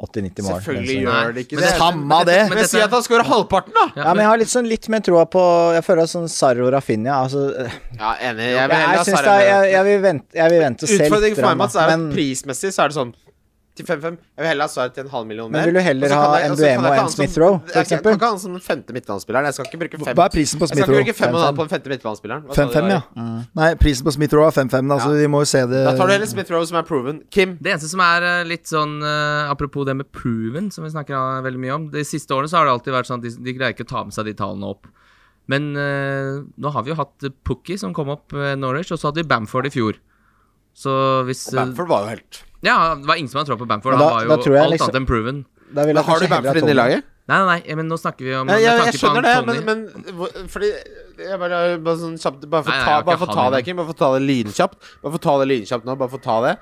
E: 80-90 mål.
B: Selvfølgelig
E: den sesongen.
B: gjør det ikke
C: Men
B: det.
C: dette-
D: Samme av det.
C: men
B: Men
C: dette-
B: si at han scorer halvparten, da!
E: Ja, men jeg har litt, sånn, litt mer troa på Jeg føler at sånn Sarro Rafinha altså,
B: Ja, enig.
E: Jeg,
B: Jeg vil heller ha
E: jeg, synes det
B: Sarri
E: er- jeg,
B: med.
E: jeg, vil vente, jeg vil vente og se
B: Utfordringen
E: litt.
B: for meg, Mats, er at
E: men,
B: prismessig så er det sånn til 5-5. Jeg vil heller ha Sarri til en halv million mer.
E: Men vil du heller
B: Og så kan
E: ha
B: jeg- og så kan jeg
E: Mbuemo enn
B: ikke ha han som-
E: Smith Rowe, for
B: Jeg kan-
E: eksempel?
B: Jeg kan ikke ha han som den femte midtbanespilleren. Jeg skal ikke bruke fem
D: Hva er prisen på
B: Jeg skal ikke
D: Smith-Roe?
B: bruke fem og en halv på den femte midtbanespilleren. Hva sa du,
D: 5-5, ja.
B: Ari?
D: Nei, prisen på Smith-Roe er 5-5, altså vi må jo se det
E: Eh,
B: Da tar du heller Smith Rowe, som er proven. Kim,
C: Det eneste som er eh, litt sånn eh, Apropos det med proven, som vi snakker eh, veldig mye om. De siste årene så har det alltid vært sånn at de, de greier ikke å ta med seg de tallene opp. Men eh, nå har vi jo hatt eh, Pookie som kom opp med Norwich, og så hadde vi Bamford i fjor. Så hvis eh,
B: Bamford var jo helt
C: Ja, det var ingen som hadde trådt på Bamford.
E: Men da-
C: han var jo
E: da tror jeg
C: alt
E: liksom-
C: annet enn proven.
E: da vil jeg
B: Har
E: kanskje heller
B: du
E: ha
B: Bamford inne i
E: Tony.
B: laget?
C: Nei, nei, nei, men nå snakker vi om
B: Jeg,
C: med
B: jeg, jeg
C: tanke på han
B: skjønner det,
C: Tony.
B: men, men hvor- fordi jeg bare, bare, sånn kjapt, bare få
C: Nei, jeg
B: ta,
C: har
B: bare
C: ikke
B: få ta
C: han
B: det,
C: igjen.
B: Kim. Bare få ta det lynkjapt. Bare få ta det lynkjapt nå. Bare få ta det.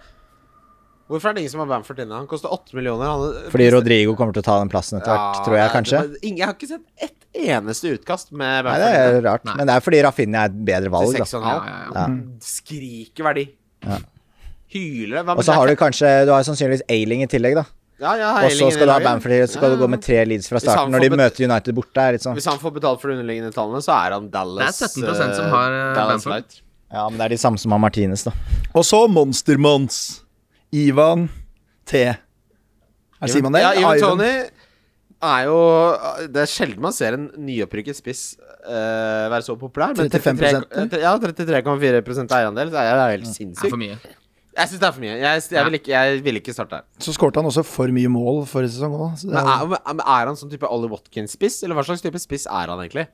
B: Hvorfor er det ingen som har Bamford inne? Han koster 8 millioner. Han,
E: Fordi Rodrigo kommer til å ta den plassen etter hvert,
B: Ja,
E: tror jeg
B: nei,
E: kanskje.
B: det var- ingen- Jeg har ikke sett ett eneste utkast med
E: Nei,
B: Bamford.
E: det er
B: inne.
E: rart.
C: Nei.
E: Men det er fordi Rafinha er et bedre valg,
B: Til
E: da.
B: 6,5.
C: Ja, ja, ja.
E: Ja.
B: Skriker verdi.
E: Ja.
B: Hyler det. Hva med
E: Og så har du
B: Jack-
E: kanskje Du har sannsynligvis Ailing i tillegg, da.
B: ja, ja,
E: Og så
B: Heilingen i
E: skal du ha
B: laget.
E: Bamford, og så skal
B: Ja,
E: du gå med tre leads fra
B: Hvis han
E: starten når de
B: får bet-
E: møter United borte. er litt sånn
B: Hvis han får betalt for de underliggende tallene, så er han Dallas
C: Det er 17% som har, eh,
B: eh, Dallas
C: Bamford.
B: Light.
E: Ja, men det er de samme som har Martinez, da.
D: Og så Monstermons. Ivan T. Her sier man det?
B: Ja, Ivan
D: Ivan.
B: Tony er jo Det er sjelden man ser en nyopprykket spiss eh, være så populær. Men
D: 35%,
B: 33 ja, 33,4 eierandel. Det er det er helt
C: Det er for
B: sinnssykt.
C: mye.
B: Jeg syns det er for mye. Jeg, jeg, vil ikke, jeg vil ikke starte her.
D: Så skårte han også for mye mål forrige sesong òg.
B: Men er, men er han sånn type Ollie Watkins-spiss, eller hva slags type spiss er han egentlig?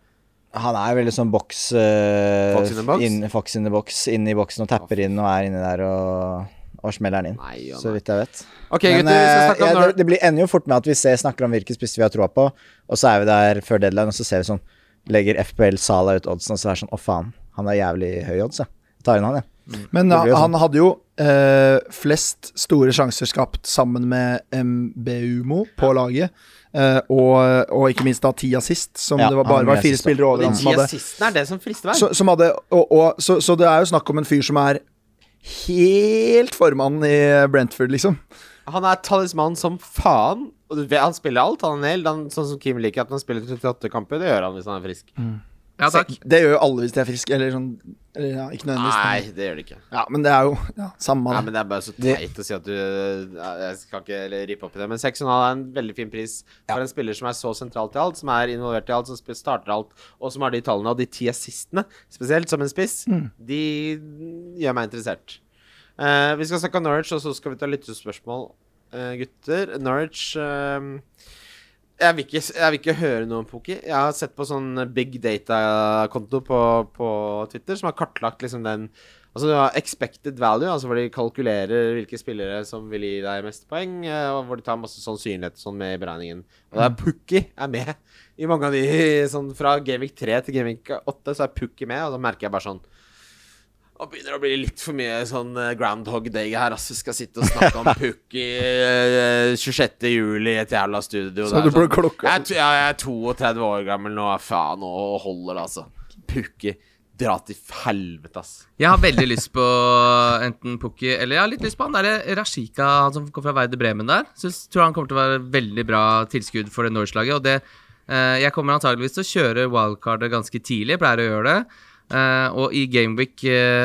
E: Han er veldig sånn boks eh,
B: Fox in the box?
E: inn- Fox in the box. Inne i boksen og tapper inn og er inni der og, og smeller den inn.
B: Nei, ja,
E: så
B: nei.
E: vidt jeg vet.
B: Ok,
E: Men
B: gutter, vi skal
E: eh,
B: snakke
E: ja,
B: om
E: det,
B: når
E: det blir ender jo fort med at vi ser, snakker om hvilke spisser vi har troa på, og så er vi der før deadline, og så ser vi sånn Legger FPL Sala ut oddsen, og så er det sånn Å, faen. Han er jævlig høy odds, jeg. Jeg Tar inn han, jeg.
D: Men
E: Det
D: ja,
E: blir jo sånn.
D: han hadde jo eh, flest store sjanser skapt sammen med MBUMO på laget. eh, og, og ikke minst da ti assist, som
E: Ja,
D: det var
E: han
D: bare var
E: med
D: fire
E: assist, da.
D: spillere
B: Og
D: over
B: de
D: han som
B: ti
D: hadde.
B: assistene er det som frister meg.
D: Så, som hadde og, og, så, så det er jo snakk om en fyr som er helt formann i Brentford, liksom.
B: Han er talisman som faen. Og du vet, han spiller alt. Han er en held, han, sånn som Kim liker at han spiller 38 kamper. Det gjør han hvis han er frisk.
C: Ja takk.
D: Det gjør jo alle hvis de er friske, eller sånn eller, ja, Ikke nødvendigvis.
B: Nei, det gjør det ikke.
D: Ja, men det er jo ja, samme
B: Nei,
D: det.
B: men Det er bare så teit å si at du ja, Jeg skal ikke rippe opp i det, men 6,5 er en veldig fin pris for en spiller som er så sentralt i alt, som er involvert i alt, som sp- starter alt, og som har de tallene og de ti assistene, spesielt som en spiss, de gjør meg interessert. Eh, vi skal snakke om Norwich, og så skal vi ta lyttespørsmål, eh, gutter. Norwich eh, jeg vil, ikke, jeg vil ikke høre noe om poker. Jeg har sett på sånn big data-konto på, på Twitter som har kartlagt liksom den Altså du har expected value, altså hvor de kalkulerer hvilke spillere som vil gi deg mest poeng, eh, og hvor de tar masse sannsynlighet og sånn med i beregningen. Og der Pukki er med i mange av de sånn fra Gaming 3 til Gaming 8, så er Pukki med, og da merker jeg bare sånn nå begynner det å bli litt for mye sånn eh, Groundhog Day her. Altså, vi skal sitte og snakke om Pukk i eh, 26. juli i et jævla studio.
D: Så
B: Det er
D: du ble klokka-
B: jeg, er t- ja, jeg er 32 år gammel nå. Faen, nå holder det, altså. Pukki. Dra til helvete, ass.
C: Jeg har veldig lyst på enten Pukki eller jeg har litt lyst på han derre Rashika, han som kom fra Werder Bremen der. Synes, tror han kommer til å være veldig bra tilskudd for det Norse-laget. Og det eh, Jeg kommer antageligvis til å kjøre wildcardet ganske tidlig, jeg pleier å gjøre det. Eh, og i Gameweek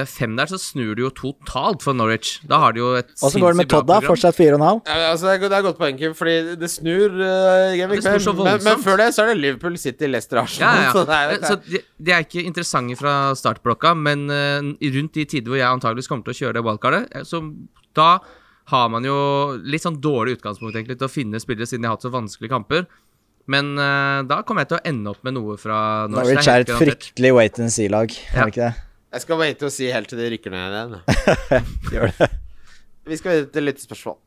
C: 5 der så snur det jo totalt for Norwich. Da har de jo et
E: Og så går det med
C: sinnssykt bra
E: Todd, da.
C: program.
E: Fortsatt 4,5.
B: Ja, men, altså, det, er, go- det er godt poeng, Kim, fordi det snur. eh, i Game
C: Ja, det
B: Week,
C: snur så
B: men, men,
C: voldsomt.
B: men før det så er det Liverpool City, Leicester
C: Ja,
B: Arsenal.
C: ja.
B: Så det er, det
C: Så
B: er,
C: de, de er ikke interessante fra startblokka, men eh, rundt de tider hvor jeg antageligvis kommer til å kjøre det wildcardet, eh, så da har man jo litt sånn dårlig utgangspunkt egentlig til å finne spillere, siden de har hatt så vanskelige kamper. Men eh, da kommer jeg til å ende opp med noe fra Norwich.
E: Norwich
C: det er
E: er et
C: helt garantert.
E: fryktelig wait and see-lag, er
C: Ja.
E: det ikke det?
B: jeg skal vente og si helt til de rykker ned igjen.
E: Gjør det.
B: Vi skal videre til lyttespørsmål.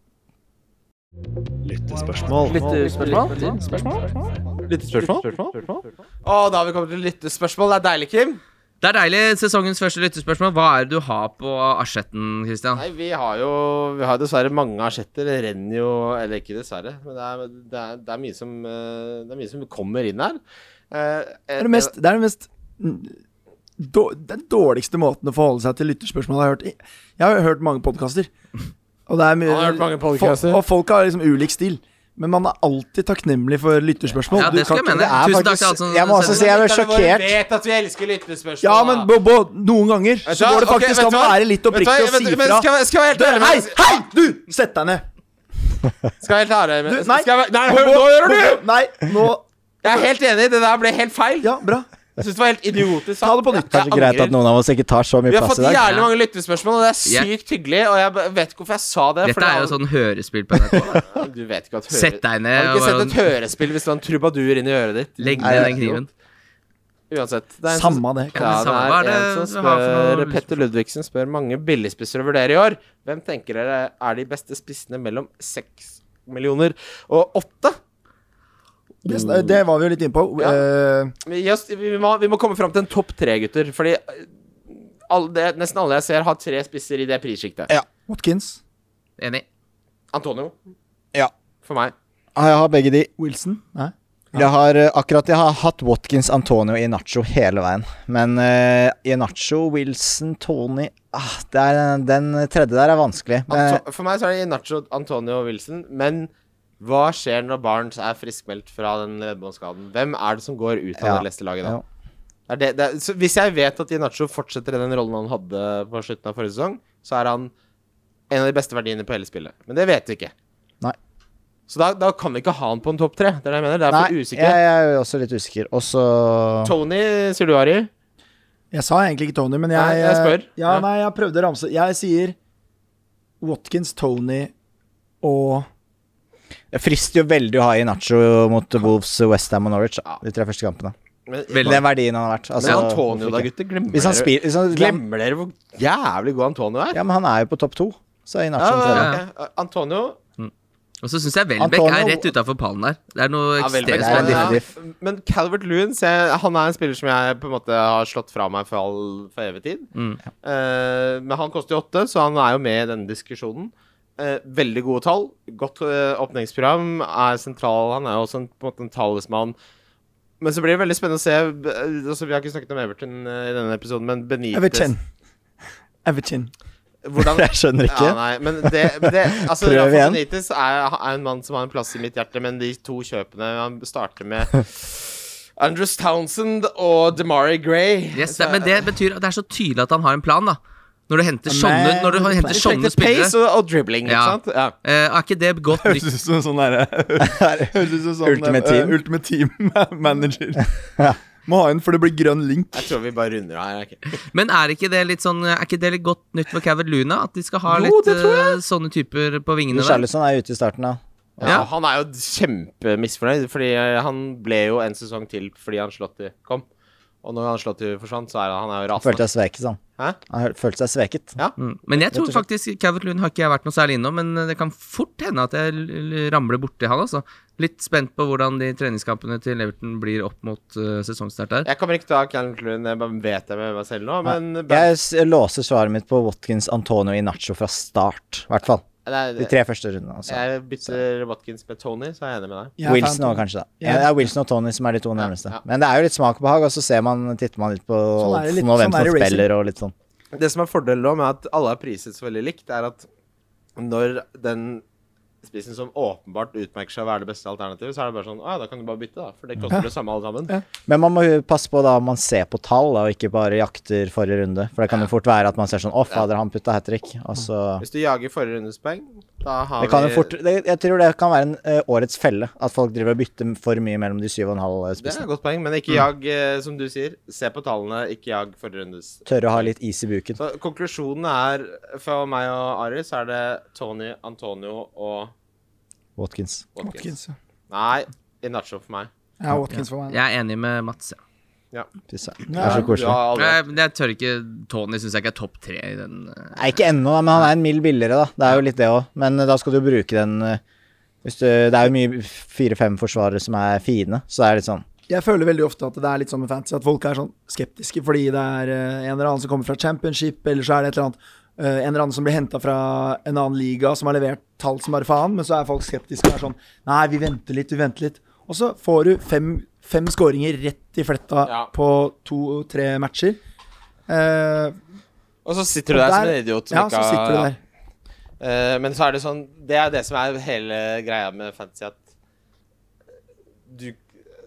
D: Lyttespørsmål.
B: Og da har vi kommet til lyttespørsmål. Det er deilig, Kim.
C: Det er deilig. Sesongens første lyttespørsmål. Hva er det du har på asjetten, Christian?
B: Nei, vi har jo vi har dessverre mange asjetter. Det renner jo Eller ikke dessverre, men det er, det er, det er, mye, som, eh, det er mye som kommer inn her. Eh,
D: Det er det mest, det er det mest då- Den dårligste måten å forholde seg til lytterspørsmål jeg har hørt. i- Jeg har hørt mange podkaster. Og, det er mye-
B: Han har hørt mange podcaster.
D: Fol- og folk har liksom ulik stil. Men man er alltid takknemlig for lytterspørsmål.
C: Ja,
D: Du
C: det skal
D: kan
C: jeg
D: ikke-
C: mene.
E: det er
C: Tusen takk
E: faktisk-
C: til alle som
E: jeg må også
C: sender.
E: si jeg ble
B: Lytterne våre
E: sjokkert.
B: vet at vi elsker lyttespørsmål.
D: Ja, men bo, bo, noen ganger
B: Vet du
D: så
B: hva?
D: går det
B: Ok,
D: faktisk
B: vet
D: an
B: du
D: å
B: hva?
D: være litt
B: Vet du
D: oppriktig
B: hva?
D: og si
B: Men- men Skal
D: ifra.
B: jeg- skal jeg være helt ærlig
D: Hei,
B: med-
D: hei, du! Sett deg ned.
B: Skal jeg være helt ærlig
D: Du,
B: med-
D: nei.
B: skal jeg være- Nei,
D: Bo-
B: hør, nå gjør du!
D: Nei, nå
B: Jeg er helt enig. Det der ble helt feil.
D: Ja, bra.
B: Jeg syns det var helt idiotisk.
D: Ta det på nytt.
E: Kanskje greit at noen av oss ikke tar så mye
B: Vi har
E: plass
B: fått
E: i dag.
B: jævlig mange lyttespørsmål, og det er
C: Ja.
B: sykt hyggelig. Og jeg b- vet ikke hvorfor jeg sa det. for
C: Dette er jo
B: det
C: sånn hørespill på NRK. da.
B: Ja, Du vet ikke at høre...
C: Sett deg ned
B: Har du
C: og
B: ikke
C: bare-
B: sett et hørespill hvis du har en trubadur inn i øret ditt?
C: Legg
E: Nei,
C: ned den
B: det er
C: kniven.
B: Uansett. Det en sånn- som-
D: Samme det.
B: Ja,
C: Ja, det samme. Hva er
B: det er en
C: det
B: som
C: du har for noe
B: spør
C: lyst på?
B: Petter Ludvigsen spør mange billigspisser å vurdere i år. Hvem tenker dere er de beste spissene mellom seks millioner og åtte?
D: Det, det var vi jo litt inne på.
B: Ja.
D: Eh,
B: Vi, gi oss- vi, må, vi må komme fram til en topp tre, gutter. Fordi eh, alle, det, nesten alle jeg ser, har tre spisser i det prissjiktet.
E: Ja.
D: Watkins,
C: Enig.
B: Antonio,
E: Ja.
B: for meg.
E: Ja, Ah, Jeg har begge de.
D: Wilson Nei.
E: Jeg har eh, akkurat jeg har hatt Watkins, Antonio og Inacho hele veien. Men uh, Inacho, Wilson, Tony ah, det er, Den tredje der er vanskelig. Men,
B: Anto for meg så er det Nacho, Antonio og Wilson. Men hva skjer når Barnes er friskmeldt fra den leddbåndskaden? Hvem er det som går ut av
E: Ja.
B: det neste laget da?
E: Ja.
B: Er det, det er, så hvis jeg vet at Inacho fortsetter i den rollen han hadde på slutten av forrige sesong, så er han en av de beste verdiene på hele spillet. Men det vet vi ikke.
E: Nei.
B: Så da, da kan vi ikke ha han på en topp tre. Det er det jeg mener. Det er
E: nei,
B: for
E: jeg,
B: usikker.
E: jeg er også litt usikker. Og så
B: Tony sier du, Ari.
D: Jeg sa egentlig ikke Tony, men jeg
B: Nei,
D: eh,
B: jeg spør.
D: Ja,
B: Ja.
D: nei, jeg prøvde å ramse Jeg sier Watkins, Tony og
E: Det frister jo veldig å ha Inacho mot Wolves, Westham og Norwich. da, De tre første kampene.
B: Men,
C: Veldig.
E: Den verdien han har vært. altså,
B: men Antonio, da,
E: hvorfor ikke?
B: gutter. Glemmer,
E: Hvis han
B: dere-
E: spiller hvis han,
B: glemmer dere hvor jævlig god Antonio er?
E: Ja, men han er jo på topp to. Så er Inacho
B: Ja,
E: den
B: ja,
E: tredje.
B: ja. ok. Antonio
C: Og så syns jeg Welbeck er
E: Antonio-
C: rett utafor pallen der. Det er noe
B: ja, vel,
E: det
C: ekstremt
E: er en
C: spennende.
E: diff- diff.
B: men- Men Calvert Lewin Han er en spiller som jeg på en måte har slått fra meg for, all, for evig tid.
C: Mm.
B: Eh, men han koster jo åtte, så han er jo med i denne diskusjonen. Eh, veldig gode tall. Godt eh, åpningsprogram. Er sentral. Han er jo også en, på en måte en talsmann. Men så blir det veldig spennende å se eh, altså, Vi har ikke snakket om Everton eh, i denne episoden, men Benitez
D: Everton. Everton.
B: Hvordan,
E: Jeg skjønner ikke.
B: Ja, nei, men det, men det altså,
E: Prøv
B: Rafa
E: igjen.
B: Benitez er, er en mann som har en plass i mitt hjerte, men de to kjøpene Han starter med Andrews Townsend og Demari Gray.
C: Yes, det, men det betyr at det er så tydelig at han har en plan, da. Når du henter sånne,
D: Men-
C: når du
D: Det
C: henter
B: er
C: sånne spillere.
B: pace og, og dribbling,
C: Ja.
B: ikke sant? Ja.
C: eh, er ikke det godt nytt?
D: ut som sånn derre Høres ut som sånn, eh,
E: Ultimate Team.
D: Ultimate Team-manager. Må ha en, for det blir grønn link.
B: Jeg tror vi bare runder av her. ok?
C: Men er ikke det litt sånn Er ikke det litt godt nytt for Cavert Luna? At de skal ha
B: Jo,
C: litt
B: det tror jeg.
C: eh, sånne typer på vingene der?
E: Charlison er ute i starten, da.
B: Ja, han er jo kjempemisfornøyd, fordi eh, han ble jo en sesong til fordi Ancelotti kom. Og når Ancelotti forsvant, så er han, han er jo
E: Han følte
B: rasende.
E: seg sveket, sa han.
B: Hæ?
E: Han hø- følte seg sveket.
B: Ja.
C: Mm. Men jeg tror
E: og slett.
C: faktisk Calvert Lund har ikke jeg vært noe særlig innom, men eh, det kan fort hende at jeg l- l- ramler borti han, altså. Litt spent på hvordan de treningskampene til Everton blir opp mot eh, sesongstart der.
B: Jeg kommer ikke til å ha Callum Clune, jeg bare vet det med meg selv nå, men
E: Jeg s- låser svaret mitt på Watkins, Antonio Inacho fra start, i hvert fall.
B: Nei,
E: De tre første rundene. Altså.
B: Jeg bytter Watkins med Tony, så er jeg enig med deg.
D: Jeg er fan
E: Wilson
D: av
E: òg, kanskje. da
D: Ja.
E: Ja, det er Wilson og Tony som er de to nærmeste.
B: ja.
E: Men det er jo litt smak og behag, og så ser man, titter man litt på
D: Sånn er det litt-
E: oddsen og hvem
D: sånn er
E: som
D: det racing.
E: spiller, og litt sånn.
B: Det som er fordelen nå med at alle er priset så veldig likt, er at når den spissen som åpenbart utmerker seg å være det beste alternativet, så er det bare sånn Å ja, da kan du bare bytte, da. For
E: Mm.
B: det koster det samme alle sammen.
D: Ja.
E: Men man må jo passe på da om man ser på tall, da, og ikke bare jakter forrige runde. For det kan jo fort være at man ser sånn Å, fader, han putta hat trick. Og så
B: Hvis du jager forrige rundes poeng, da har
E: det kan jo
B: vi
E: fort, det, Jeg tror det kan være en, eh, årets felle, at folk driver og bytter for mye mellom de syv og en halv eh,
B: Det er
E: spissene.
B: et godt poeng, men ikke
E: Mm.
B: jag, eh, som du sier. Se på tallene, ikke jag forrige rundes.
E: Tørre å ha litt is i buken.
B: Så konklusjonen er, for meg og Ari, så er det Tony, Antonio og
E: Watkins.
B: Watkins.
D: Watkins. ja.
B: Nei, Inacho for meg.
D: Ja, Watkins for meg.
C: Jeg er enig med Mats, ja.
E: Fy søren. Det
D: Ja,
E: er så
B: Du
E: koselig.
B: har aldri
C: Jeg, jeg tør ikke Tony syns jeg ikke er topp tre i den eh,
E: Nei, ikke ennå, da, men han er en mild billigere, da. Det er jo litt det òg. Men eh, da skal du jo bruke den eh, hvis du, Det er jo mye fire-fem forsvarere som er fine, så det er litt sånn
D: Jeg føler veldig ofte at det er litt sånn med fantasy, at folk er sånn skeptiske fordi det er eh, en eller annen som kommer fra championship, eller så er det et eller annet eh, en eller annen som blir henta fra en annen liga som har levert tall som bare faen, men så er folk skeptiske og er sånn Nei, vi venter litt, vi venter litt. Og så får du fem, fem skåringer rett i fletta
B: Ja.
D: på to-tre matcher. Eh,
B: Og så sitter du der, som en idiot. Som
D: ja,
B: ikke
D: så sitter du
B: har,
D: der.
B: Eh, men så er det sånn Det er det som er hele greia med fantasy, at du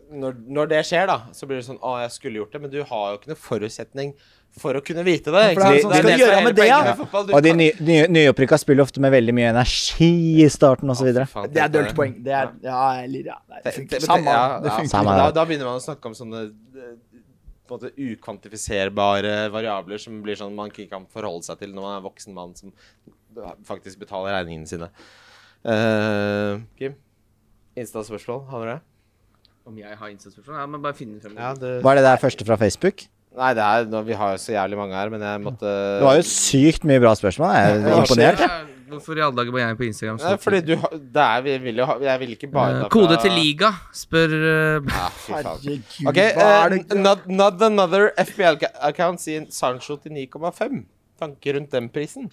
B: når, når det skjer, da, så blir det sånn Å, jeg skulle gjort det, men du har jo ikke noe forutsetning for å kunne vite det.
D: for det er
B: sant?
D: sånn, skal du
B: som
D: gjøre
B: er
D: med
B: hele
D: det,
B: poenget
D: ja?
B: med fotball, du
E: Og de
B: kan-
E: nye, nye, nyopprykka spiller ofte med veldig mye energi i starten osv.
B: Fy faen,
D: Det er
B: tenk på
D: dølt poeng. Det er Ja, eller ja, nei, Det
B: Det-
D: funker.
B: det-
D: Samme.
B: ja,
D: Det
B: ja,
D: funker.
E: Samme
B: Da,
E: det.
B: da begynner man å snakke om sånne eh, på en måte ukvantifiserbare variabler som blir sånn man ikke kan forholde seg til når man er en voksen mann som faktisk betaler regningene sine. Eh, Kim? Insta-spørsmål, har du det?
C: Om jeg har innsatsperson? Ja, men bare finne frem
B: Ja,
C: det.
B: det
E: Var det der første fra Facebook?
B: Nei, det er, nå, vi har jo så jævlig mange her, men jeg måtte
E: Det var jo sykt mye bra spørsmål. Jeg
B: det
E: er
B: var
E: imponert. jeg.
C: Ja, Hvorfor i alle dager må jeg på Instagram?
B: Nei,
C: så
B: fordi
C: tidlig?
B: du har Det er vi vil jo ha Jeg vil ikke bare
C: Eh,
B: ta fra-
C: Kode til liga, spør eh,
B: Ja, fy faen.
D: Herregud,
B: OK,
D: hva er
B: eh,
D: det
B: not, not another FBL-account sier Sancho til 9,5. Tanker rundt den prisen?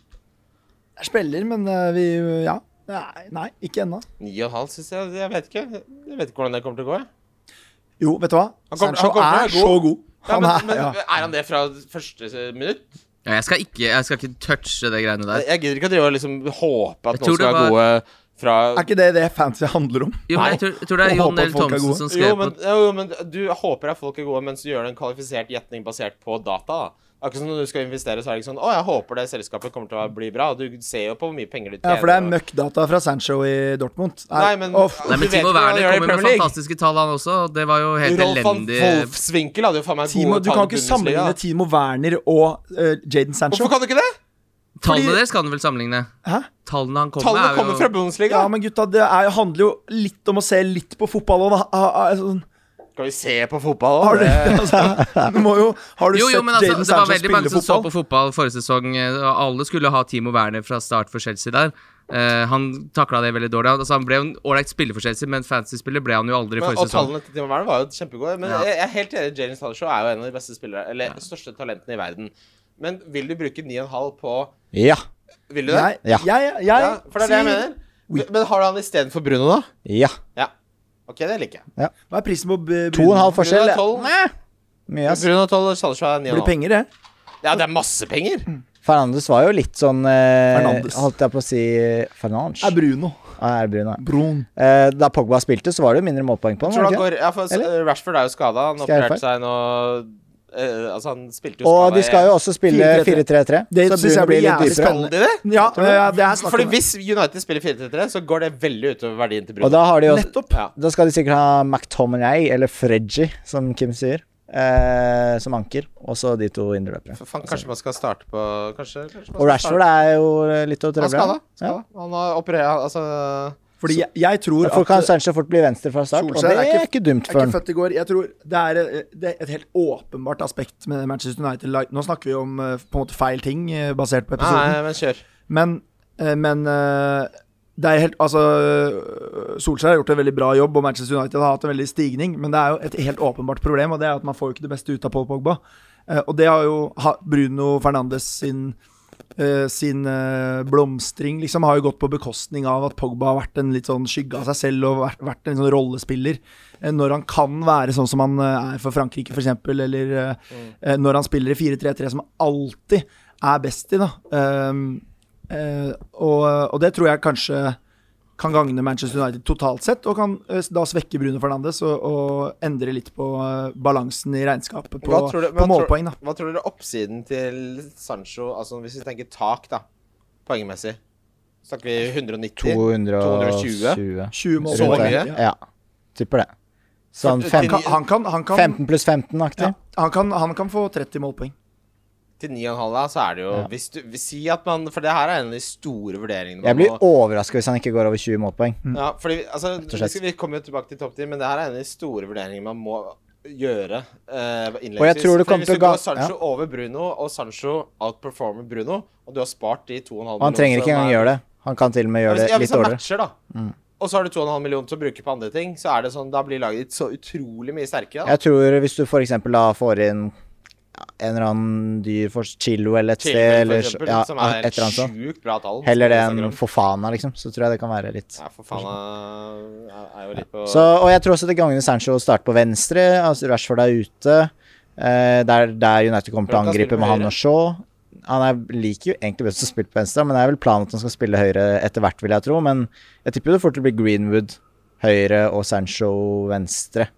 D: Jeg spiller, men eh, vi Ja. Nei, nei ikke ennå.
B: 9,5 syns jeg Jeg vet ikke Jeg vet ikke hvordan det kommer til å gå. jeg.
D: Jo, vet du hva?
B: Han kommer-
D: Sancho
B: han kommer
D: er
B: til å være
D: så god.
B: Ja,
D: Han
B: men,
D: er,
B: men
D: ja.
B: er han det fra første eh, minutt?
C: ja, jeg, skal ikke, jeg skal ikke touche det greiene der.
B: Jeg gidder ikke å drive og liksom håpe at
C: Jeg
B: noen
C: tror det
B: skal ha gode fra
D: er ikke det det fantasy handler om?
C: Jo, men jeg tror, jeg tror det er
D: Nei,
C: Jon
D: håper
C: L.
D: at folk er
C: Thomsen
D: gode.
C: som skrev
B: Jo
C: på
B: men, jo, men du håper at folk er gode, mens du gjør en kvalifisert gjetning basert på data. da. Akkurat som når du skal investere, så er det ikke sånn Å, jeg håper det selskapet kommer til å bli bra. Og du ser jo på hvor mye penger du
D: Ja,
B: tjener.
D: for det er
B: og-
D: møkkdata fra Sancho i Dortmund.
B: Nei, men-
D: Uff.
C: Nei, men
B: Du vet
C: Timo
B: ikke hva han
C: Werner
B: gjør i
C: kommer med
B: Premier League.
C: fantastiske tall, han også. og Det var jo helt
B: Rolf van
C: elendig.
B: Wolfsvinkel hadde jo faen meg
D: Timo,
B: gode
D: du kan
B: tall i
D: ikke
B: Bundesliga.
D: sammenligne Timo Werner og eh, Jaden Sancho.
B: Hvorfor kan du ikke det?
C: Tallene
D: fordi-
C: deres kan du vel sammenligne?
D: Hæ?
C: Tallene han kom
B: Tallene
C: med,
B: kommer
C: er
B: fra
C: jo
B: Bundesliga.
D: Ja, men gutta, det er, handler jo litt om å se litt på fotball. Og da, ah, ah, sånn,
B: Skal vi se på fotball Eh,
D: har,
B: òg?
D: du, altså, du må jo, har du
C: jo, jo,
D: sett
C: men altså,
D: Jaden
C: Det var
D: Sancho
C: veldig mange
D: spille
C: som så på
D: fotball?
C: fotball forrige sesong. eh, og Alle skulle ha Timo Werner fra start for Chelsea der. Eh, han takla det veldig dårlig. Altså, han ble jo en ålreit spiller for Chelsea, men fantasy-spiller ble han jo aldri
B: Men,
C: forrige
B: og
C: sesong.
B: tallene til Timo Werner var jo kjempegode. Men
C: Ja.
B: jeg, jeg er helt enig, Jalen Sancho er jo en av de beste spillere, eller største talentene i verden. Men vil du bruke 9,5 på
E: Ja.
B: Vil du det?
D: Nei,
E: Ja.
D: jeg, jeg,
B: Ja, for det er det jeg
D: sier-
B: mener. Men- Men har du han istedenfor Bruno, da?
E: Ja.
B: Ja. Ok, det liker jeg.
D: Hva er prisen på eh, b-
E: To og en halv
B: Bruno
E: forskjell.
B: er 12.
E: Mye, altså. ass.
B: Bruno er 12 og Sancho er 9,5.
D: Blir penger, det.
B: Ja, det er masse penger!
E: Mm. Fernandes var jo litt sånn eh,
D: Fernandes.
E: Holdt jeg på å si eh, Fernandes?
D: Er Bruno.
E: Ja, er Brun, ja.
D: Brun.
E: Eh, da Pogba spilte, så var det jo mindre målpoeng på
B: Tror du
E: ham.
B: han går Ja, for
E: Eller?
B: Rashford er jo skada. Han
E: Skal jeg
B: opererte
E: feil?
B: seg nå eh, Altså, han spilte jo
E: Og de skal jo også spille 4-3-3,
D: 4-3-3.
E: så
D: Det synes
E: Bruno
D: jeg blir
E: blir litt
D: jævlig
E: dypere.
B: Skal de det?
D: Ja, ja, det er snakk
B: Fordi
D: om det.
B: hvis United spiller 4-3-3, så går det veldig utover verdien til
E: Og
B: Bruno.
E: da har de jo
D: Nettopp.
B: Ja.
E: Da skal de sikkert ha McTominay eller Fredgy, som Kim sier, eh, som anker. Og så de to indreløpere.
B: For faen, kanskje man skal starte på Kanskje, kanskje
E: Altså-
B: man
E: Og
B: skal
E: Rashford
B: starte-
E: er jo eh, litt å
B: Han er
E: trøble.
B: skada.
E: Ja.
B: Han har operert Altså
D: Fordi jeg, jeg tror
E: Derfor kan
D: at
E: Sancho fort bli venstre fra start, og det
D: Solskjær er ikke-
E: er ikke dumt
D: jeg
E: for
D: er
E: han.
D: ikke født i går. Jeg tror det er, eh, det er et helt åpenbart aspekt med Manchester United. Like, Nå snakker vi om eh, på en måte feil ting eh, basert på episoden.
B: Nei, men kjør.
D: Men, eh, men eh, det er helt, altså, eh, Solskjær har gjort en veldig bra jobb, og Manchester United har hatt en veldig stigning. Men det er jo et helt åpenbart problem, og det er at man får jo ikke det beste ut av Paul Pogba. Eh, og det har jo ha- Bruno Fernandes sin, eh, sin eh, blomstring liksom har jo gått på bekostning av at Pogba har vært en litt sånn skygge av seg selv og vært, vært en sånn rollespiller. Eh, når han kan være sånn som han eh, er for Frankrike, f.eks., eller eh,
B: Mm.
D: eh, når han spiller i 4-3-3, som han alltid er best i, da. Eh, Eh, og, og det tror jeg kanskje kan gagne Manchester United totalt sett, og kan eh, da svekke Bruno Fernandes og, og endre litt på eh, balansen i regnskapet på,
B: Hva tror du- hva
D: på målpoeng, da.
B: Tror, hva tror dere oppsiden til Sancho Altså Hvis vi tenker tak, da, poengmessig Snakker vi 190?
E: 220.
D: 20 mål.
B: Så mye?
D: Ja.
E: Ja, tipper det. Sånn
B: Førti-
E: fem,
D: Han, kan, han, kan, han, kan,
E: 15 pluss 15-aktig.
D: ja, han, kan, han kan få 30 målpoeng.
B: Til 9,5, da, så er det jo
E: Ja.
B: hvis du, hvis- Si at man For det her er en av de store vurderingene.
E: Jeg
B: man
E: blir
B: må-
E: overraska hvis han ikke går over 20 målpoeng.
D: Mm.
B: Ja, fordi
E: Mm.
B: altså,
E: og slett.
B: vi, skal, vi kommer jo tilbake til topp 10, men det her er en av de store vurderingene man må gjøre. eh, innledningsvis.
E: Og jeg tror det
B: Fordi
E: kommer
B: Hvis
E: til å
B: du
E: ga-
B: går Sancho over Bruno, og Sancho outperformer Bruno, og du har spart de 2,5
E: Og
B: millionene
E: han trenger ikke engang gjøre det. Han kan til og med gjøre
B: hvis,
E: det
B: ja, hvis
E: litt
B: han
E: dårligere. Mm.
B: matcher, da. Og så har du 2,5 millioner til å bruke på andre ting, så er det sånn, da blir laget ditt så utrolig mye sterkere. Da.
E: Jeg tror hvis du for eksempel da får inn ja, en eller annen dyr for Chilwell eller et
B: Til,
E: sted,
B: for
E: eller
B: eksempel,
E: ja,
B: som er
E: et eller annet sånt.
B: sjukt bra tall.
E: Heller det
B: som
E: enn
B: Instagram.
E: Fofana, liksom. Så tror jeg det kan være litt
B: Ja, for faen, jeg jeg er jo litt på
E: Så, og jeg tror også det gagner Sancho å starte på venstre. Altså Rashford er ute. Eh, der, der United kommer til å
B: Tror du ikke han
E: angripe
B: spiller
E: med
B: på
E: han og Shaw. Han er, liker jo egentlig best å spille på venstre, men det er vel planen at han skal spille høyre etter hvert, vil jeg tro. Men jeg tipper jo det fort blir Greenwood høyre og Sancho venstre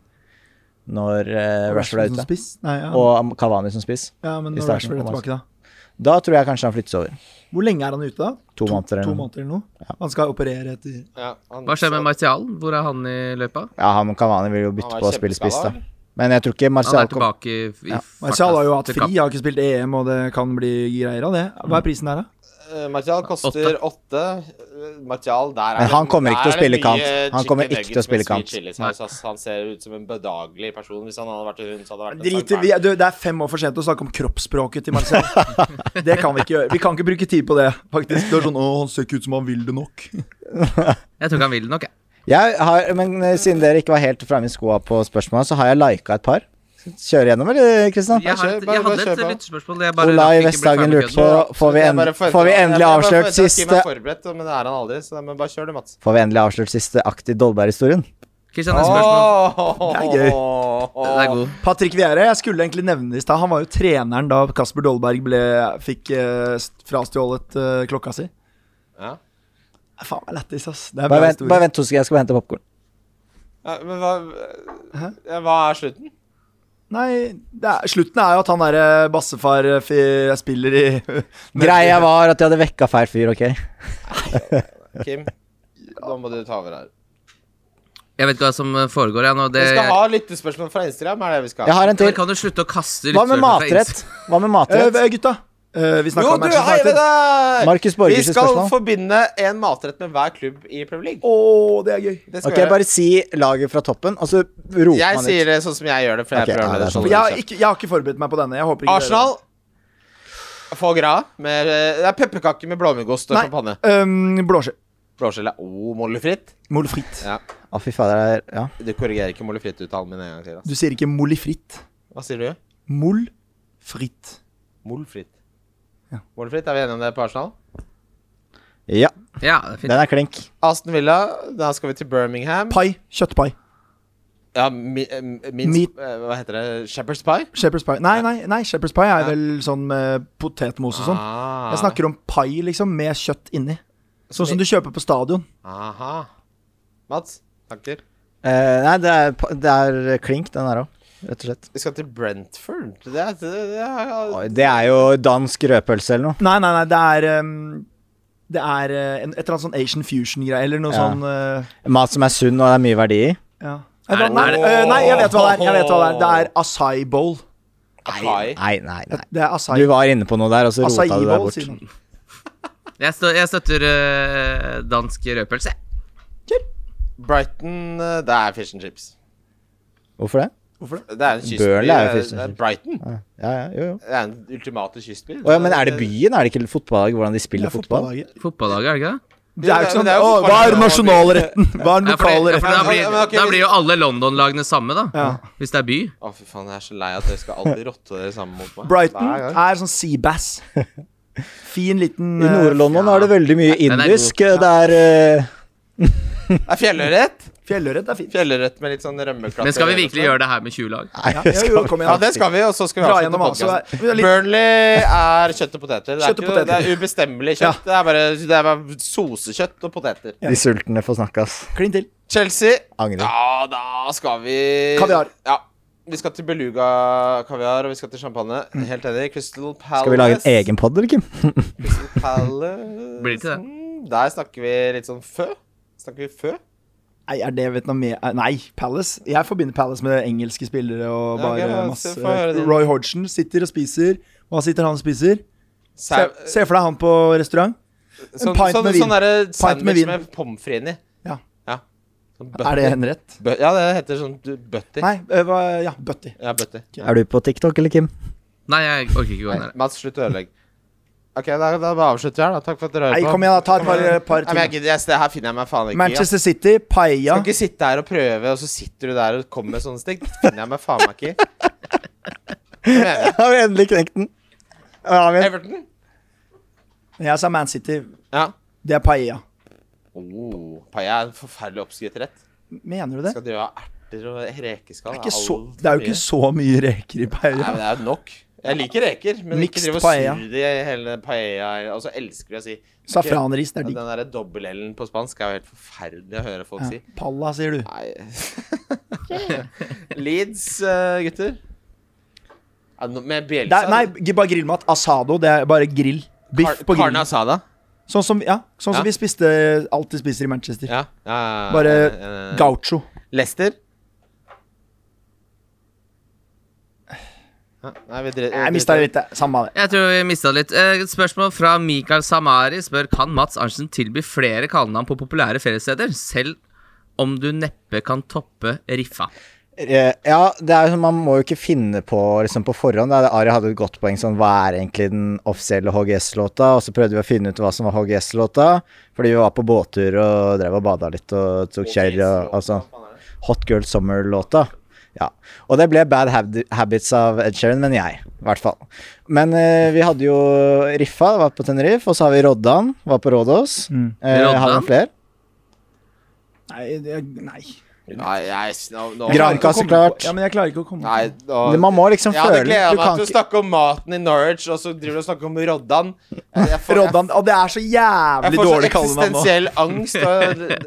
E: når eh, Rashford er
D: som
E: ute.
D: spiss? Nei, ja.
E: Og Kavani som spiss.
D: ja, men
E: i
D: når
E: starten
D: Rashford er
E: kommer
D: tilbake, da.
E: Da tror jeg kanskje han flyttes over.
D: Hvor lenge er han ute, da?
E: To måneder eller
D: to
E: noe.
D: måneder eller noe? Han skal operere etter
B: ja, han-
C: Hva skjer med
B: så-
C: Martial? Hvor er han i løypa?
E: Ja, han Kavani vil jo
B: han
E: bytte
B: er
E: på å spille
B: kjempeskada,
E: spiss, da.
B: eller?
E: Men jeg tror ikke
C: Han
E: Marcial
C: er tilbake i, i
E: Ja,
D: Marcial har jo hatt
C: til
D: fri,
C: kamp.
D: har ikke spilt EM, og det kan bli greier av det. Hva er prisen der, da?
B: Eh, Martial koster åtte. Eh, Martial, der er
E: Men
B: det-
E: han kommer ikke til å
B: der er det
E: spille
B: mye
E: kant. Han
B: chicken
E: kommer ikke
B: nuggets
E: til å spille
B: med sweet
E: kant.
B: chili sauce, ass. Han ser ut som en bedagelig person. Hvis han hadde vært en hund, så hadde han vært en
D: Drit i vi,
B: sangbær.
D: du, Det er fem år for sent å snakke om kroppsspråket til Marcel. det kan vi ikke gjøre. Vi kan ikke bruke tid på det, faktisk. Det er sånn, å, han ser ikke ut som han vil det nok.
C: Jeg tror ikke han vil det nok, jeg.
E: Jeg har, men eh, siden dere ikke var helt framme i skoa på spørsmålet, så har jeg lika et par. Skal vi Kjøre gjennom, eller, Kristian?
C: Jeg, har
B: kjør,
C: et,
B: bare-
C: jeg
B: bare
C: hadde
B: kjør
C: et
B: på.
C: lyttespørsmål. Jeg bare rakk
E: Olai
C: ikke bli
E: Vesthagen
C: ferdig med
E: lurte på
C: kødden.
E: Får vi,
B: Jeg
E: end,
B: bare forventer-
E: får vi
B: jeg-
E: endelig
B: jeg bare
E: avslørt
B: forventer at Kim
E: siste
B: er forberedt, men det er han aldri, så men bare kjør det, Mats.
E: Får vi endelig avslørt siste akt i Dolberg-historien?
C: Kristian, neste spørsmål.
D: Det er gøy.
C: Den er god.
D: Patrick Vieira, jeg skulle egentlig nevne det i stad. Han var jo treneren da Kasper Dolberg ble, fikk eh, st- frastjålet eh, klokka si.
B: Ja.
D: Faen meg lættis, ass. Det er bra
E: Bare vent, bare
D: historie.
E: vent to sekunder, jeg skal hente popkorn.
B: Ja, men hva,
D: Hæ?
B: ja, hva er slutten?
D: Nei, det er, slutten er jo at han derre bassefar eh, fi- spiller i
E: Greia var at jeg hadde vekka feil fyr, OK?
B: Kim, nå må du ta over her.
C: Jeg vet ikke hva som foregår, jeg nå. Det,
B: Vi skal
C: jeg,
B: ha lyttespørsmål fra Instagram, er det vi skal
E: Jeg
B: ha.
E: har en til.
C: kan du slutte å kaste
E: Hva med
C: lyttespørsmål fra
E: matrett? Hva med
D: Eh,
E: matrett?
D: Gutta, eh, vi snakka
B: Jo,
D: om
B: du,
D: Manchester
B: hei med
D: United.
B: deg!
E: Markus
B: Vi
E: Borges
B: skal
E: spørsmål.
B: forbinde en matrett med hver klubb i Premier League.
D: Å, det er gøy.
B: Det skal
E: Ok,
B: vi gjøre.
E: bare si laget fra toppen, og så roper
B: Jeg
E: man
B: sier
E: ut.
B: det sånn som jeg gjør det, for jeg
E: Ok,
B: er
E: ja, det
B: programleder.
E: er sant.
B: sånn
D: Jeg
B: det
D: har,
B: skjer.
D: ikke, jeg har ikke forberedt meg på denne. Jeg håper ikke dere-
B: Arsenal får greia. Med, eh, det er pepperkaker med blåmuggost og
D: Nei.
B: champagne.
D: Um, Blåskjell.
B: Blåskjell er oh, mollefritt.
D: Molfritt.
B: Ja.
E: Å, fy fader. det er- Ja.
B: Du korrigerer ikke mollefritt-uttalen min en gang til. ass.
D: Du sier ikke molifritt.
B: Hva sier du?
D: Molfritt.
B: Mollfritt. Mollefritt, er vi enige om det på Arsenal?
E: ja,
C: Insta? Ja, det er fint.
E: den er klink.
B: Aston Villa, da skal vi til Birmingham.
D: Pai. Kjøttpai.
B: Ja, mi, eh, minst,
D: Meat.
B: eh, Hva heter det? Shepherd's pie?
D: Shepherd's pie. Nei, nei, nei shepherd's pie er vel sånn med potetmos og sånn.
B: Ah.
D: Jeg snakker om pai, liksom, med kjøtt inni. Sånn som du kjøper på stadion.
B: Aha. Mats, tanker?
E: Eh, nei, det er, det er klink, den her òg, rett og slett.
B: Vi skal til Brentford. Det er, det, det er,
E: Oi, Det er jo dansk rødpølse eller noe.
D: Nei, nei, nei, det er um, Det er uh, en, et eller annet sånn Asian fusion-greie, eller noe
E: Ja.
D: sånn uh,
E: Mat som er sunn og det er mye verdi i.
D: ja.
C: Er det-
D: Nei,
C: er det-
D: øh, nei, jeg vet hva det er. Jeg vet hva Det er Det er acai bowl.
B: Acai.
E: Nei, nei, nei.
D: Det er acai.
E: Du var inne på noe der, og så rota
D: Acai
E: du deg
D: bowl,
E: bort.
D: sier han.
C: Jeg, stø, jeg støtter eh, dansk rødpølse.
B: Brighton eh, Det er fish and chips.
E: Hvorfor det?
D: Hvorfor det?
B: Det er en kystby.
E: Burnley er jo
B: eh,
E: fish and
B: det er
E: chips.
B: Brighton
E: Ja, ja, ja, jo, jo.
B: det er den ultimate kystby.
E: Å ja, men er det byen? Er det ikke fotballag hvordan de
D: Det
E: spiller
D: er
E: fotball?
D: fotballaget.
C: Fotballaget, er det ikke det?
D: Det er jo ikke
B: men
D: sånn
B: det er
D: Å,
B: jo
D: hva er
B: fotballaget.
D: nasjonalretten? Hva er den
C: Ja, for,
D: lokale
C: det, ja, for da,
D: retten?
B: Ja,
C: blir,
B: men ok,
C: da
B: hvis-
C: blir jo alle London-lagene samme, da.
D: Ja.
C: Hvis det er by.
B: Å, fy faen, jeg er så lei at dere skal alltid rotte dere sammen mot meg.
D: Brighton
B: Hver gang.
D: er sånn seabass. Fin liten
E: I Nord-London er det veldig mye
C: Ja, den er god.
E: indisk. Det er eh,
B: Det er fjellørret.
D: eh, Fjellørret er fint.
B: Fjellørret med litt sånn rømmeklatter.
C: Men skal vi virkelig
B: altså.
C: gjøre det her med 20 lag?
E: Nei,
D: Ja,
E: jeg
D: jo, jo,
E: skal
D: kom
B: Ja,
D: igjen.
B: det skal vi, og så skal vi
D: Dra
B: avslutte
D: gjennom, altså.
B: podcasten.
D: Vi er litt-
B: Burnley er kjøtt og poteter. Det er,
D: Kjøtt og
B: ikke, noe- det
D: poteter.
B: er ubestemmelig kjøtt. Det er bare, det er bare sosekjøtt og poteter.
E: De sultne får snakke, ass.
D: Klin til.
B: Chelsea
E: Angrer.
B: Ja, da skal vi
D: Kaviar.
B: Ja. Vi skal til beluga kaviar, og vi skal til champagne.
D: Mm.
B: Helt enig. Crystal Palace.
E: Skal vi lage en egen pod, eller, Kim?
B: Crystal Palace
C: Blir det ikke det?
B: Mm, Der snakker vi litt sånn fø. Snakker vi fø?
D: Nei, er det Vietnamese Nei, Palace. Jeg forbinder Palace med engelske spillere og
B: Ja,
D: bare
B: ok, da,
D: masse
B: så får jeg høre din.
D: Roy Hodgson sitter og spiser. Hva sitter han og spiser? Se,
B: Sau-
D: se for deg han på restaurant.
B: sånn,
D: pint
B: sånn,
D: med vin.
B: Sånn derre
D: Pint med
B: sandwich
D: vin.
B: med, pommes frites inni.
D: Ja.
B: ja. Sånn
D: Er det en rett?
B: bø- Ja, det heter sånn du- bøtter.
D: Nei, øh, hva- ja, bøtti.
B: Ja, bøtter.
E: Er du på TikTok, eller, Kim?
C: Nei, jeg orker ikke gå ned der.
B: Mats, slutt å ødelegge. Ok, da, da bare avslutter vi her, da. Takk for at dere
D: Nei,
B: hører på.
D: kom igjen, da. Ta et
B: Kom igjen.
D: par, par
B: Nei, men jeg
D: til.
B: gidder, jeg, det her finner jeg meg faen ikke i. ass.
D: Manchester City, paella.
B: Kan ikke sitte her og prøve, og så sitter du der og kommer med sånne stikk. Finner jeg meg faen meg ikke i. Kom igjen.
E: Har vi endelig knekt den? Ja, vi
B: Everton?
D: Jeg sa Man City.
B: Ja.
D: Det er paella.
B: Oh, paella er en forferdelig oppskrytt rett.
D: Mener du det?
B: Skal dø av erter og rekeskall.
D: Det er, ikke så, det er jo ikke så mye reker i
B: Nei, men
D: paella.
B: det er jo nok. Jeg liker reker, men ikke
D: Mixed
B: drive og
D: paella.
B: surre i hele paella. Og så elsker vi å si
D: Safranris, det er
B: Den
D: digg.
B: derre dobbel-L-en på spansk er jo helt forferdelig å høre folk si.
D: Palla, sier du.
B: Nei Leeds, eh, gutter. Ja, nå- Med
D: Det
B: Bjelsa
D: er, nei, ikke bare grillmat. Asado, det er bare grill. Biff på
B: Carne
D: grillen.
B: asada.
D: Sånn som, ja,
B: Ja.
D: sånn som vi spiste alt vi spiser i Manchester.
B: Ja. ja, ja, ja.
D: Bare
B: Eh,
D: gaucho.
B: Leicester. Ja, Nei, vi dri-
D: Jeg mista det litt. jeg. Samme av det.
C: Jeg tror vi mista litt. Eh, Et spørsmål fra Mikael Samari spør Kan Mats Arntzen tilby flere kallenavn på populære feriesteder, selv om du neppe kan toppe Riffa?
E: Eh, Ja, det er jo sånn, man må jo ikke finne på liksom på forhånd. Da. Ari hadde et godt poeng sånn Hva er egentlig den offisielle HGS-låta? Og så prøvde vi å finne ut hva som var HGS-låta, fordi vi var på båttur og drev og bada litt og tok kjerr og altså Hot Girl Summer-låta. Ja. Og det ble Bad Hab Habits av Ed Sheeran, men jeg, i hvert fall. Men eh, vi hadde jo Riffa, var på Tenerife, og så har vi Roddan, var på Rådås.
D: Mm.
E: Eh, har
C: Roddan?
E: vi flere?
D: Nei, det, nei.
B: Nei, jeg nå, nå,
E: Gran
D: Jeg klarer ikke å
E: Cassa,
D: komme på-
E: klart.
D: Ja, men jeg klarer ikke å komme
B: Nei,
D: på
B: nå-
E: Men Man må liksom
B: jeg hadde
E: føle
B: gleda meg til å
E: ikke-
B: snakke om maten i Norwich, og så driver du og snakker om Roddan. Jeg, jeg får, jeg,
D: Roddan. Og det er så
B: jeg får
D: jævlig
B: sånn
D: dårlig kallenavn nå.
B: eksistensiell angst. Og,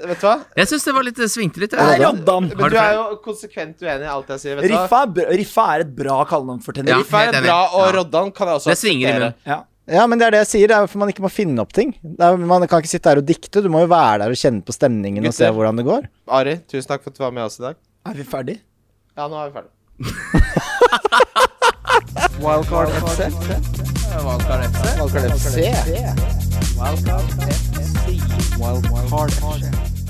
B: vet du hva?
C: Jeg syns det var litt eh, svingte litt. jeg.
D: Nei,
C: Har
D: Roddan.
B: Men
C: du
B: du er
C: flere?
B: jo konsekvent uenig i alt jeg sier. Vet du hva?
D: Riffa, er br- Riffa er et bra kallenavn for
C: Ja.
D: Tenerife.
B: Riffa
C: helt
B: er
C: enig.
B: bra, og
C: Ja.
B: Roddan kan jeg også
C: Det svinger i
B: akseptere.
C: munnen.
D: Ja.
E: Ja, men det er det jeg sier. Det er hvorfor man ikke må finne opp ting. Det er, man kan ikke sitte der og dikte. Du må jo være der og kjenne på stemningen og se
B: Gutter.
E: hvordan det går.
B: Ari, tusen takk for at du var med oss i dag.
D: Er vi ferdig?
B: Ja, nå er vi ferdig.
A: Wildcard FC.
B: Valgkart FC.
A: Wildcard FC.